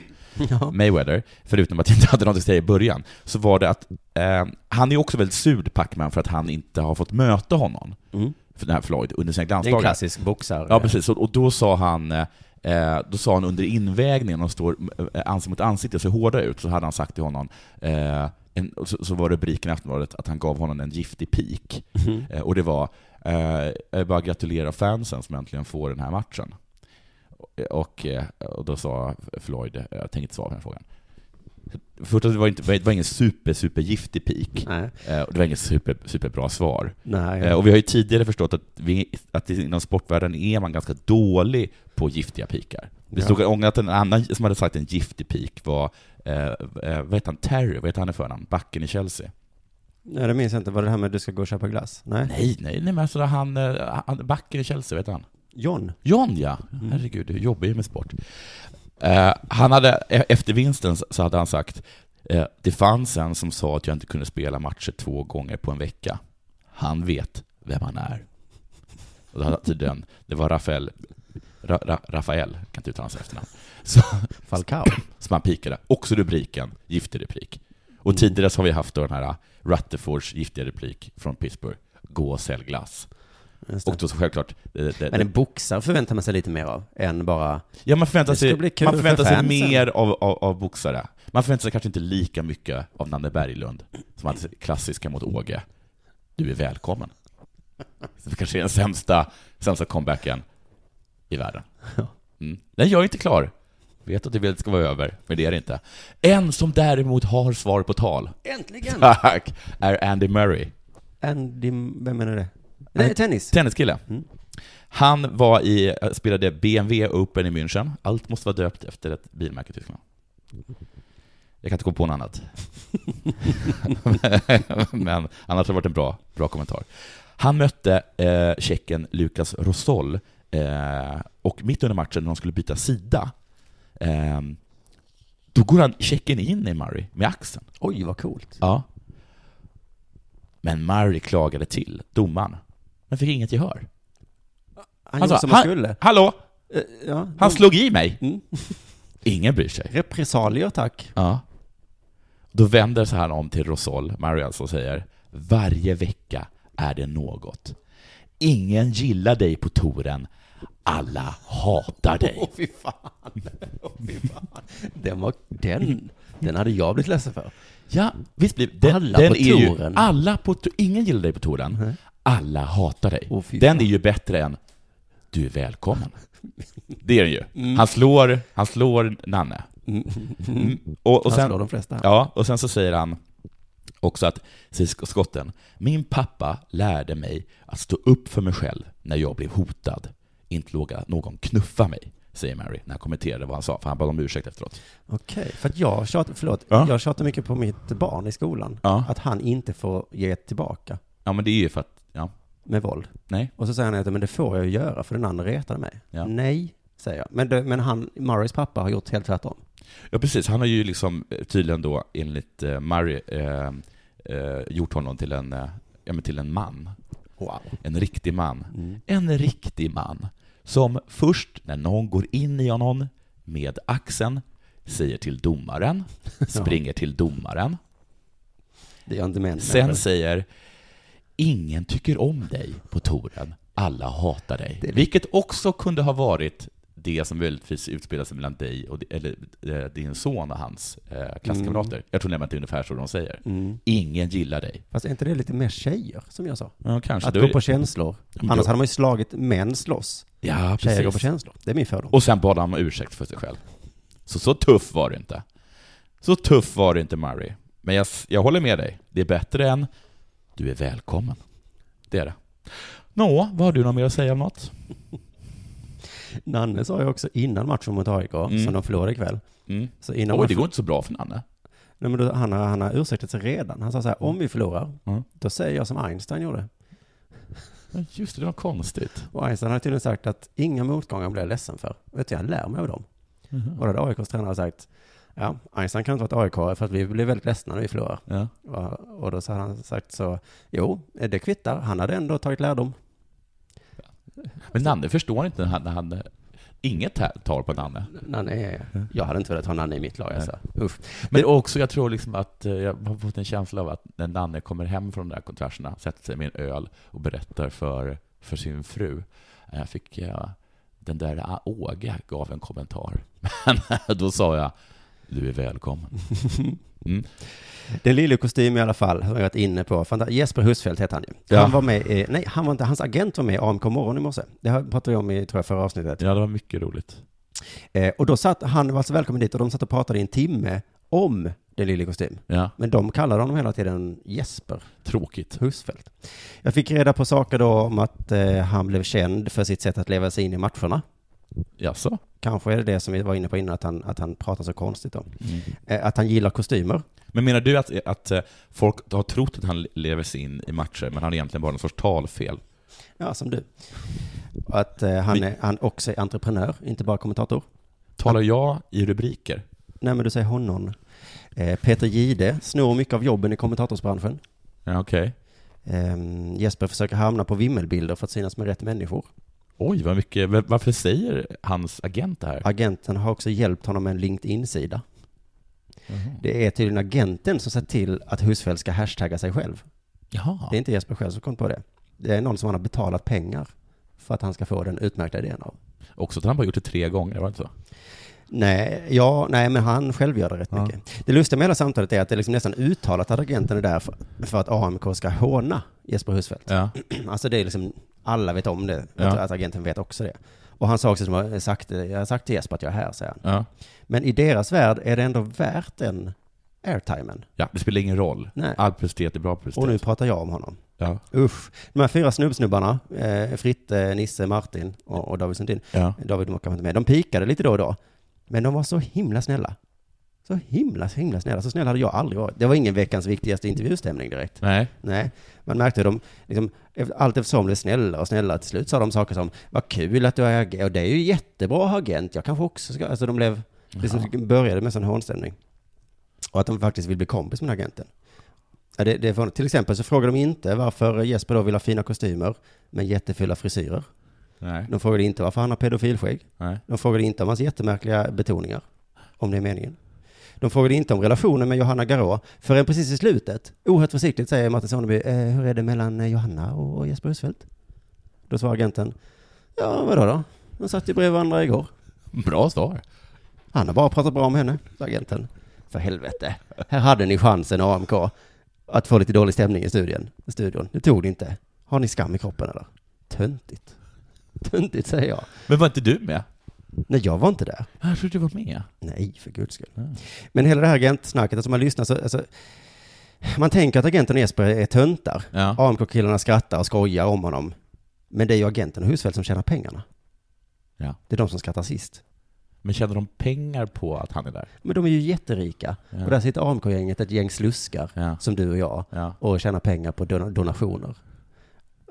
C: Ja.
D: Mayweather, förutom att jag inte hade något att säga i början, så var det att eh, han är också väldigt sur, Pac-Man, för att han inte har fått möta honom,
C: Mm.
D: för den här Floyd, under sina glansdagar.
C: klassisk boxare.
D: Ja, precis. Och, och då sa han eh, eh, då sa han under invägningen, de står eh, ansikte mot ansikte och ser hårda ut, så hade han sagt till honom eh, en, och så, så var rubriken i Aftonbladet att han gav honom en giftig pik. Eh, och det var eh, jag vill bara gratulera fansen som äntligen får den här matchen. Och, eh, och då sa Floyd, eh, jag tänker inte svara på den här frågan. Först att det var, inte, det var ingen super, super giftig pik.
C: Nej.
D: Eh, och det var inget super, superbra svar.
C: Nej,
D: Eh, Och vi har ju tidigare förstått att, vi, att inom sportvärlden är man ganska dålig på giftiga pikar. Det
C: Ja.
D: stod ja. att en annan som hade sagt en giftig pik var, eh, eh, vad heter han, Terry, vad heter han i förnamn, backen i Chelsea?
C: Nej, det minns jag inte. Var det det här med att du ska gå och köpa glass? Nej.
D: Nej, nej, nej men alltså han, eh, han backen i Chelsea, vad heter han?
C: John?
D: John ja! Herregud, jag jobbar ju med sport. Eh, han hade, e- efter vinsten så hade han sagt, eh, det fanns en som sa att jag inte kunde spela matcher två gånger på en vecka. Han vet vem han är. Och då hade han tydligen, det var Rafael, Ra, Ra, Rafael, jag kan inte uttala hans efternamn, så, <laughs>
C: Falcao?
D: som han pikade. Också rubriken, giftig replik. Och tidigare så har vi haft då den här Rutherfords giftiga replik från Pittsburgh, gå och sälj glass.
C: Just det.
D: Och då så självklart... eh, Det, det,
C: Men en boxare förväntar man sig lite mer av, än bara...
D: Ja, man förväntar
C: Det ska
D: sig,
C: bli kul
D: man förväntar
C: för
D: sig
C: fansen.
D: mer av, av, av boxare. Man förväntar sig kanske inte lika mycket av Nanne Berglund, som hade sitt klassiska mot Åge. Du är välkommen. Det kanske är den sämsta, sämsta comebacken i världen. Mm. Den jag är inte klar. Vet att du vill att det ska vara över, men det är det inte. En som däremot har svar på tal,
C: Äntligen!
D: <laughs> tack, är Andy Murray.
C: Andy, vem menar det? Nej, tennis.
D: Tenniskille. Mm. Han var i, eh, spelade BMW Open i München. Allt måste vara döpt efter ett bilmärke i Tyskland. Jag kan inte komma på något <laughs> annat. Men annars har det varit en bra, bra kommentar. Han mötte eh, tjecken Lukas Rosol eh, och mitt under matchen när de skulle byta sida, eh, då går han tjecken in i Murray med axeln.
C: Oj, vad coolt.
D: Ja. Men Murray klagade till domaren, men fick inget gehör.
C: Han,
D: Han
C: gjorde
D: sa,
C: som Alltså, han
D: han,
C: skulle.
D: hallå,
C: Eh, Ja.
D: han slog i mig.
C: Mm.
D: Ingen bryr sig.
C: Repressalier, tack.
D: Ja. Då vänder sig han om till Rosol, Marianne, och säger Varje vecka är det något. Ingen gillar dig på touren. Alla hatar
C: <laughs>
D: dig.
C: <laughs> fy fan. Åh, fy fan. Den var... Den. Den hade jag blivit ledsen för.
D: Ja, visst blir den,
C: Alla
D: den
C: på
D: är ju-
C: touren.
D: Alla på tou- Ingen gillar dig på touren. Alla hatar dig.
C: Åh, fy
D: den
C: fan.
D: är ju bättre än Du
C: <laughs>
D: är välkommen. Det är den ju.
C: Mm.
D: Han, slår, han slår Nanne. Mm. Och, och
C: Han
D: sen,
C: slår de flesta.
D: Ja, och sen så säger han också att, säger sk- skotten, min pappa lärde mig att stå upp för mig själv när jag blev hotad, inte låga någon knuffa mig, säger Mary när han kommenterade vad han sa, för han bad om ursäkt efteråt.
C: Okej, för att jag tjatar, förlåt,
D: Ja.
C: jag tjatar mycket på mitt barn i skolan.
D: Ja.
C: Att han inte får ge tillbaka
D: Ja, men det är ju för att, ja,
C: med våld.
D: nej.
C: Och så säger han att men det får jag ju göra för den andra retade mig.
D: Ja.
C: Nej, säger jag. Men, det, men han, Murrays pappa har gjort helt tvärtom.
D: Ja, precis, han har ju liksom eh, tydligen då enligt eh, Mary eh, eh, gjort honom till en, eh, ja, men till en man.
C: Wow.
D: En riktig man.
C: Mm.
D: En riktig man. Som först när någon går in i honom med axeln säger
C: <laughs>
D: till domaren, springer till domaren.
C: Det gör inte män.
D: Sen säger ingen tycker om dig på touren. Alla hatar dig. Vilket också kunde ha varit det som möjligtvis utspelade sig mellan dig och eller, eh, din son och hans eh, klasskamrater.
C: Mm.
D: Jag tror nämligen att det är ungefär så de säger. Ingen gillar dig.
C: Fast är inte det lite mer tjejer, som jag sa?
D: Ja,
C: Att
D: kanske. Alltså, Då är
C: gå
D: det-
C: på känslor.
D: men
C: Annars
D: då-
C: hade man ju slagit män slåss.
D: ja,
C: Tjejer
D: precis.
C: går på känslor. Det är min fördom.
D: Och sen bad han om ursäkt för sig själv. Så så tuff var det inte. Så tuff var det inte, Murray. Men jag, jag håller med dig. Det är bättre än du är välkommen. Det är det. Nå, vad har du något mer att säga om något?
C: Nanne sa ju också innan matchen mot AIK, som de förlorade ikväll.
D: Mm.
C: Så innan
D: Oj, det
C: matchen,
D: går inte så bra för Nanne.
C: nej, men då, han, har, han har ursäktat sig redan. Han sa så här, om vi förlorar,
D: Mm.
C: då säger jag som Einstein gjorde.
D: Men Just det, det var konstigt.
C: Och Einstein hade tydligen sagt att inga motgångar blir jag ledsen för. Vet du, jag lär mig av dem. Och då hade AIKs tränare sagt, ja, Einstein kan inte vara ett AIK för att vi blir väldigt ledsna när vi förlorar.
D: Ja.
C: Och, och då så hade han sagt så, jo, det kvittar, han hade ändå tagit lärdom.
D: Men Nanne förstår inte när han... När han inget här tar på Nanne.
C: Nanne är, jag hade inte velat ha Nanne i mitt lag, alltså. Usch.
D: Men också, jag tror liksom att eh, jag har fått en känsla av att när Nanne kommer hem från de där kontrasterna, sätter sig med en öl och berättar för, för sin fru. eh, Jag fick, eh, den där ah, Åge gav en kommentar. <laughs> Men eh, då sa jag, du är välkommen.
C: Det är lillekostym i alla fall, har jag varit inne på. Fanta- Jesper Husfeldt heter han ju.
D: Ja.
C: Han var med, i, nej, han var inte, hans agent var med i AMK morgon i morse. Det här pratade vi om i, tror jag, förra avsnittet.
D: Ja, det var mycket roligt.
C: Eh, och då satt, han var alltså välkommen dit och de satt och pratade i en timme om den lille kostym.
D: Ja,
C: Men de kallade honom hela tiden Jesper
D: tråkigt.
C: Husfeldt. Jag fick reda på saker då om att eh, han blev känd för sitt sätt att leva sig in i matcherna.
D: Jaså?
C: Kanske är det det som vi var inne på innan, att han, att han pratar så konstigt om. Eh, att han gillar kostymer.
D: Men menar du att, att eh, folk har trott att han lever sig in i matcher, men han är egentligen bara någon sorts talfel?
C: Ja, som du. Och att eh, han, är, han också är entreprenör, inte bara kommentator.
D: Talar jag i rubriker?
C: Nej, men du säger honom. Eh, Peter Gide snor mycket av jobben i kommentatorsbranschen.
D: Ja, okej.
C: Ehm, Jesper försöker hamna på vimmelbilder för att synas med rätt människor.
D: Oj, vad mycket. v- Varför säger hans agent det här?
C: Agenten har också hjälpt honom med en LinkedIn-sida. Det är tydligen agenten som sett till att Husfeldt ska hashtagga sig själv.
D: Jaha.
C: Det är inte Jesper själv som kom på det. Det är någon som han har betalat pengar för att han ska få den utmärkta idén av.
D: Också att han bara gjort det tre gånger, var det inte så?
C: Nej, ja, nej, men han själv gör det rätt mycket. Det lustiga med hela samtalet är att det är liksom nästan uttalat att agenten är där för, för att AMK ska håna Jesper Husfeldt. <clears throat>
D: Ja.
C: Alltså det är liksom, alla vet om det,
D: Ja.
C: Jag tror att agenten vet också det. Och han sa också som jag har sagt, det, jag har sagt till Jesper att jag är här, säger han.
D: ja.
C: Men i deras värld är det ändå värt den airtimen.
D: Ja, det spelar ingen roll.
C: Nej.
D: All prestet är bra prestet.
C: Och nu pratar jag om honom.
D: Ja.
C: Usch. De här fyra snubbsnubbarna, eh, Fritte, Nisse, Martin och, och David Sundin.
D: Ja.
C: David var kanske inte med. De pikade lite då och då. Men de var så himla snälla. Så himla, himla snälla. Så snäll hade jag aldrig varit. Det var ingen veckans viktigaste intervjustämning direkt.
D: Nej.
C: Nej, man märkte hur de, liksom, eft- allt eftersom blev snällare och snällare. Till slut sa de saker som, vad kul att du är agent, och det är ju jättebra att ha agent, jag kanske också ska, alltså de blev, liksom, började med sån hånstämning. Och att de faktiskt vill bli kompis med den här agenten. Ja, det, det är förvånande. till exempel så frågar de inte varför Jesper då vill ha fina kostymer, men jättefulla frisyrer.
D: Nej.
C: De frågade inte varför han har pedofilskägg.
D: Nej.
C: De frågade inte om hans jättemärkliga betoningar, om det är meningen. De frågade inte om relationen med Johanna Garå förrän precis i slutet, oerhört försiktigt, säger Martin Sonneby, eh, hur är det mellan eh, Johanna och Jesper Husfeldt? Då svarar agenten, ja vadå då? De satt ju bredvid varandra igår.
D: Bra svar.
C: Han har bara pratat bra om henne, sa agenten. För helvete, här hade ni chansen AMK att få lite dålig stämning i studion. I studion. Det tog ni inte. Har ni skam i kroppen eller? Töntigt. Töntigt säger jag.
D: Men var inte du med?
C: Nej, jag var inte där.
D: Jag trodde du var med.
C: Nej, för guds skull. Men hela det här agentsnacket, alltså man lyssnar så, alltså, man tänker att agenten och Jesper är töntar.
D: Ja.
C: AMK-killarna skrattar och skojar om honom. Men det är ju agenten och Husfeldt som tjänar pengarna.
D: Ja.
C: Det är de som skrattar sist.
D: Men tjänar de pengar på att han är där?
C: Men de är ju jätterika.
D: Ja.
C: Och där sitter AMK-gänget, ett gäng sluskar,
D: Ja.
C: som du och jag,
D: Ja.
C: och tjänar pengar på don- donationer.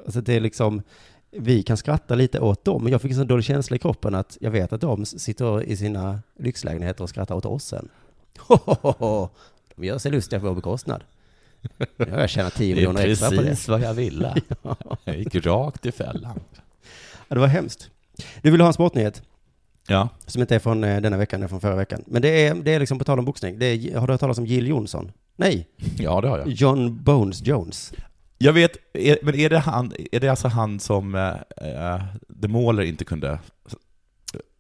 C: Alltså det är liksom, vi kan skratta lite åt dem, men jag fick en sån dålig känsla i kroppen att jag vet att de sitter i sina lyxlägenheter och skrattar åt oss sen. <laughs> Hohoho, de gör sig lustiga på vår bekostnad. Nu har jag tjänat 10 miljoner extra på det.
D: vad jag <laughs> ville. Jag gick rakt i fällan.
C: Ja, det var hemskt. Du vill ha en sportnyhet?
D: Ja.
C: Som inte är från eh, denna veckan, det är från förra veckan. Men det är, det är liksom på tal om boxning. Det är, har du hört talas om Jill Johnson? Nej,
D: ja, det har jag.
C: John Bones Jones.
D: Jag vet, är, men är det, han, är det alltså han som eh, eh, The Mauler inte kunde...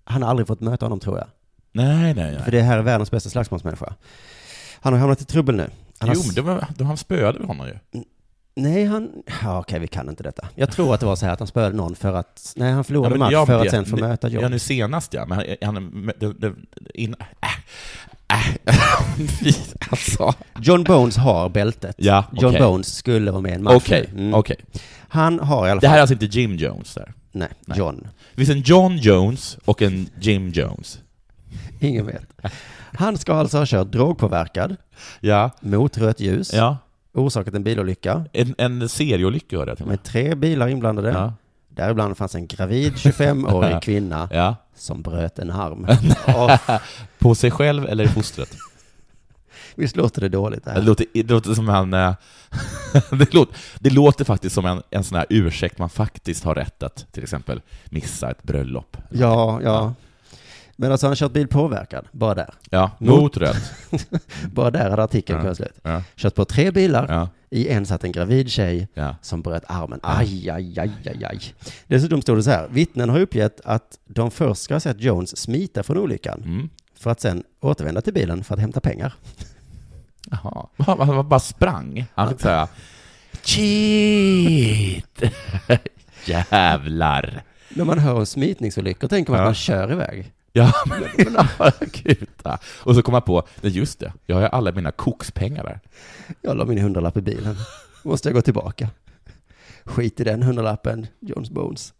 C: Han har aldrig fått möta honom tror jag.
D: Nej, nej,
C: För
D: nej.
C: det här är världens bästa slagsmålsmänniska. Han har hamnat i trubbel nu. Han har
D: Jo,
C: s-
D: men det var, de, han spöade väl honom ju.
C: Nej, han... Ja, okej, vi kan inte detta. Jag tror att det var så här att han spöade någon för att... Nej, han
D: Ja,
C: förlorade
D: men
C: match
D: jag
C: för att
D: vet-
C: sen få
D: nu-
C: möta John.
D: Ja, nu senast ja. Men han, han, det, det,
C: <laughs>
D: in, äh, äh, fy, alltså.
C: John Bones har bältet.
D: Ja,
C: John
D: okej.
C: Bones skulle vara med i en match.
D: Okej,
C: nu. Mm.
D: okej.
C: Han har i alla
D: Det
C: fall...
D: här är alltså inte Jim Jones där.
C: Nej,
D: Nej.
C: John.
D: Det finns en John Jones och en Jim Jones.
C: Ingen vet. Han ska alltså ha kört drogpåverkad,
D: Ja.
C: mot rött ljus,
D: Ja.
C: orsakat en bilolycka,
D: En, en serieolycka hörde jag till och med.
C: med tre bilar inblandade.
D: Ja.
C: Däribland fanns en gravid 25-årig kvinna
D: <laughs> ja.
C: som bröt en
D: <laughs>
C: arm. Ja,
D: På sig själv eller i fostret?
C: Visst låter det dåligt det
D: Det
C: här?
D: låter, det låter som en... eh, <laughs> det, låter, det låter faktiskt som en, en sån här ursäkt man faktiskt har rätt att till exempel missa ett bröllop.
C: Ja, ja. Men alltså han har kört bil påverkad, bara där.
D: Ja,
C: Mot-
D: mot rött.
C: Bara där hade artikeln
D: Mm. Ja.
C: kunnat slut.
D: Ja.
C: Kört på tre bilar,
D: Ja.
C: i en satt en gravid tjej
D: Ja.
C: som bröt armen. Aj, aj, aj, aj, aj. Dessutom stod det så här, vittnen har uppgett att de först ska ha sett Jones smita från olyckan
D: Mm.
C: för att sen återvända till bilen för att hämta pengar.
D: Jaha. Han, han bara sprang. Han fick säga Cheat! <laughs> Jävlar!
C: När man hör om smitningsolyckor tänker man att
D: Ja.
C: man kör iväg.
D: Ja, men <laughs> kuta. Och så kom jag på, nej just det, jag har ju alla mina kokspengar där.
C: Jag la min hundralapp i bilen. Måste jag gå tillbaka? Skit i den hundralappen, Jones Bones.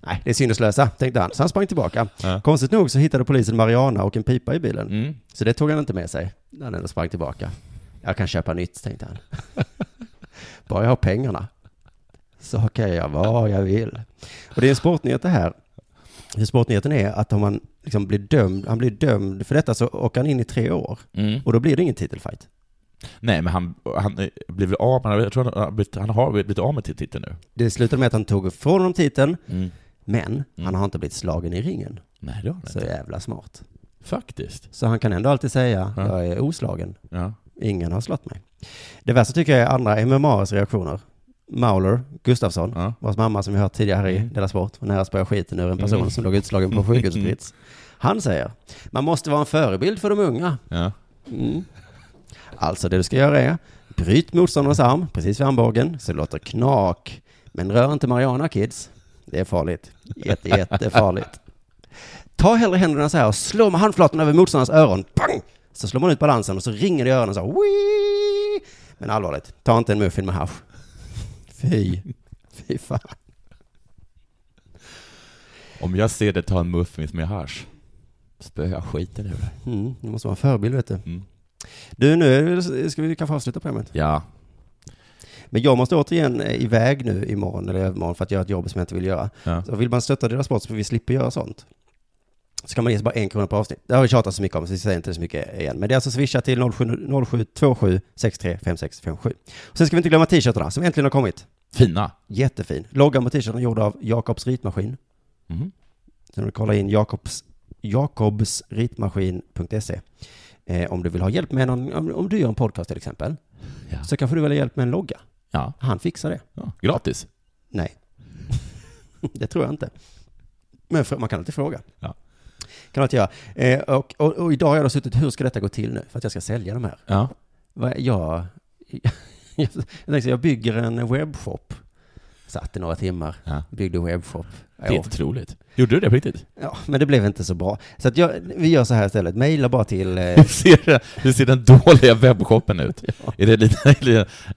C: Nej, det är sinneslösa, tänkte han. Så han sprang tillbaka.
D: Ja.
C: Konstigt nog så hittade polisen Mariana och en pipa i bilen.
D: Mm.
C: Så det tog han inte med sig när han ändå sprang tillbaka. Jag kan köpa nytt, tänkte han. <laughs> Bara jag har pengarna så kan jag göra vad jag vill. Och det är en sportnyhet det här. Hur Sportnyheten är att om man liksom blir dömd, han blir dömd för detta så åker han in i tre år.
D: Mm.
C: Och då blir det ingen titelfight.
D: Nej, men han, han eh, blev väl av med, jag tror han har blivit, han har blivit av med sin titel nu.
C: Det slutade med att han tog ifrån honom titeln,
D: Mm.
C: men han har inte blivit slagen i ringen.
D: Nej, det har han
C: Så
D: inte.
C: jävla smart.
D: Faktiskt.
C: Så han kan ändå alltid säga,
D: Ja.
C: jag är oslagen.
D: Ja.
C: Ingen har slått mig. Det värsta tycker jag är andra MMAs reaktioner. Mauler Gustafsson,
D: Ja.
C: vars mamma som vi hört tidigare här i
D: Mm.
C: Della Sport, var nära spöade skiten ur en person
D: Mm.
C: som låg utslagen på sjukhusbrits. Han säger, man måste vara en förebild för de unga.
D: Ja.
C: Mm. Alltså det du ska göra är, bryt motståndarens arm precis vid armbågen så det låter knak. Men rör inte Mariana kids. Det är farligt. Jätte, jättefarligt. Ta hellre händerna så här och slå med handflatan över motståndarens öron. Pang! Så slår man ut balansen och så ringer det i öronen så här. Wii! Men allvarligt, ta inte en muffin med hasch. Fy. Fy fan.
D: Om jag ser det ta en muffins med hasch. Spöa skiten ur dig.
C: Mm, det måste vara en förebild, vet du.
D: Mm.
C: Du, nu är det- ska vi kanske avsluta programmet.
D: Ja.
C: Men jag måste återigen eh, iväg nu imorgon eller övermorgon för att göra ett jobb som jag inte vill göra.
D: ja.
C: Så vill man stötta deras sport så vi slipper göra sånt. Så kan man ge sig bara en krona per avsnitt. Det har vi tjatat så mycket om så vi säger inte så mycket igen. Men det är alltså swisha till 07- 0727 635657. Och sen ska vi inte glömma t-shirtarna som äntligen har kommit.
D: Fina.
C: Jättefin. Loggan på t-shirten är gjord av Jakobs ritmaskin.
D: Mm.
C: Så du kollar in Jakobs, jakobsritmaskin.se. Eh, om du vill ha hjälp med någon, om, om du gör en podcast till exempel,
D: Ja.
C: så kanske du vill ha hjälp med en logga.
D: Ja.
C: Han fixar det.
D: ja. Gratis.
C: Nej. det tror jag inte. Men fr- man kan alltid fråga.
D: Ja.
C: Kan man alltid göra. Eh, och, och, och idag har jag då suttit, hur ska detta gå till nu? För att jag ska sälja de här.
D: Ja.
C: Vad- Jag, <laughs> jag, tänkte, jag bygger en webbshop. Satt i några timmar,
D: Ja.
C: byggde webbshop.
D: Det är inte otroligt. Gjorde du det på riktigt?
C: Ja, men det blev inte så bra. Så att jag, vi gör så här istället, mejla bara till... Eh,
D: <laughs> Hur ser, hur ser den dåliga webbshoppen <laughs> ut? Är, det en liten,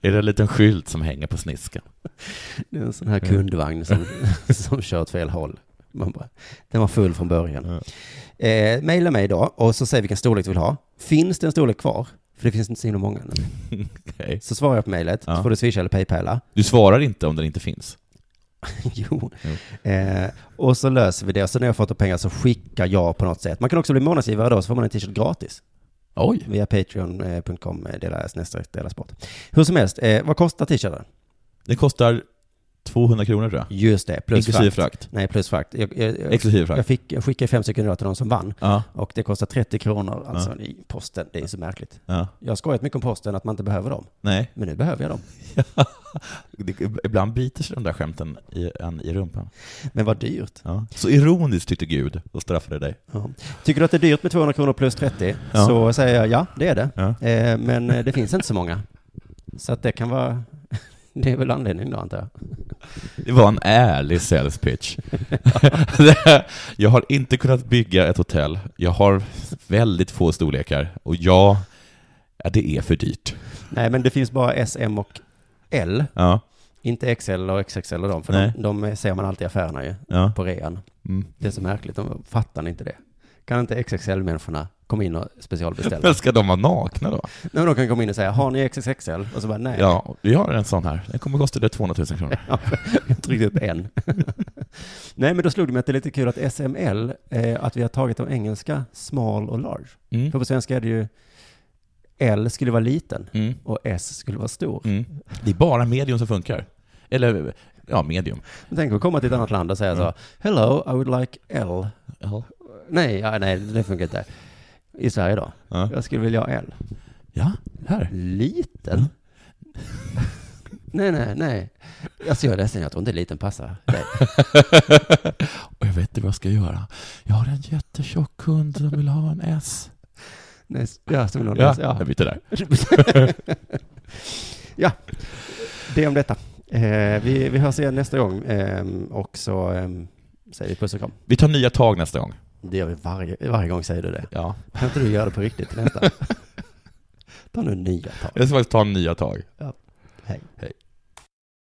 D: är det en liten skylt som hänger på sniskan? <laughs>
C: det är en sån här kundvagn som, som kör åt fel håll. Man bara, den var full från början. Eh, mejla mig då och så säg vilken storlek du vill ha. Finns det en storlek kvar? För det finns inte så himla många. nu.
D: Okej.
C: Så svarar jag på mejlet,
D: Ja.
C: så får du swisha eller paypala. <laughs>
D: Du svarar inte om den inte finns.
C: jo.
D: Jo.
C: Eh, och så löser vi det. Och så när jag fått de pengar så skickar jag på något sätt. Man kan också bli månadsgivare då, så får man en t-shirt gratis.
D: Oj.
C: via patreon.com eh, dela nästa dela sport. Hur som helst, eh, vad kostar t-shirten?
D: Den kostar 200 kronor tror jag.
C: Just det, plus
D: Inklusive
C: frakt.
D: frakt.
C: Nej, plus frakt. Jag, jag, jag,
D: Exklusive
C: jag,
D: frakt.
C: fick, jag skickade fem stycken idag till de som vann
D: Ja.
C: och det kostar 30 kronor alltså i posten. Det är så märkligt.
D: ja.
C: Jag har skojat mycket om posten, att man inte behöver dem.
D: Nej. <laughs>
C: Men nu behöver jag dem.
D: Det, ibland biter sig de där skämten i, en i rumpan.
C: Men vad dyrt.
D: Ja. Så ironiskt tyckte Gud och straffade dig.
C: Ja. Tycker du att det är dyrt med 200 kronor plus 30
D: Ja.
C: så säger jag ja, det är det.
D: Ja.
C: Eh, men eh, det finns inte så många. Så att det kan vara... <laughs> Det är väl anledningen då, antar jag.
D: Det var en ärlig sales pitch. <laughs> jag har inte kunnat bygga ett hotell. Jag har väldigt få storlekar. Och ja, ja det är för dyrt.
C: Nej, men det finns bara S, M och L.
D: Ja.
C: Inte XL och XXL och dem, för
D: Nej.
C: de, de ser man alltid i affärerna ju,
D: ja.
C: på rean.
D: Mm.
C: Det är så märkligt, de fattar inte det. Kan inte XXL-människorna komma in och
D: <laughs>
C: specialbeställa?
D: Men ska de vara nakna då?
C: Nej, men de kan komma in och säga, har ni XXXL? Och så bara, nej.
D: Ja, vi har en sån här. Den kommer kosta dig 200 000 kronor.
C: <laughs> Jag tryckte upp en. <laughs> nej, men då slog det mig att det är lite kul att SML, eh, att vi har tagit de engelska small och large.
D: Mm.
C: För på svenska är det ju, L skulle vara liten
D: Mm.
C: och S skulle vara stor.
D: Mm. Det är bara medium som funkar. Eller, ja, medium.
C: Men Tänk att komma till ett annat land och säga
D: Mm.
C: så, hello, I would like L.
D: Ja.
C: Nej, ja, nej, det funkar inte. I Sverige då?
D: Ja.
C: Jag skulle vilja ha L.
D: Ja, här.
C: Liten? nej, nej, nej. Alltså jag är ledsen, jag tror inte liten passar
D: <laughs>
C: dig.
D: <laughs> Och jag vet inte vad jag ska göra. Jag har en jättetjock kund som vill ha en S.
C: nej ja, som någon
D: Ja,
C: ja.
D: jag byter där.
C: <laughs> ja, det om detta. Eh, vi, vi hörs igen nästa gång eh, och så eh, säger vi puss och kram.
D: Vi tar nya tag nästa gång.
C: Det gör vi varje, varje gång säger du det.
D: Ja.
C: Kan inte du göra det på riktigt <laughs> till nästa? Ta nu nya tag.
D: Jag ska faktiskt ta nya tag.
C: Hej.
D: Hej.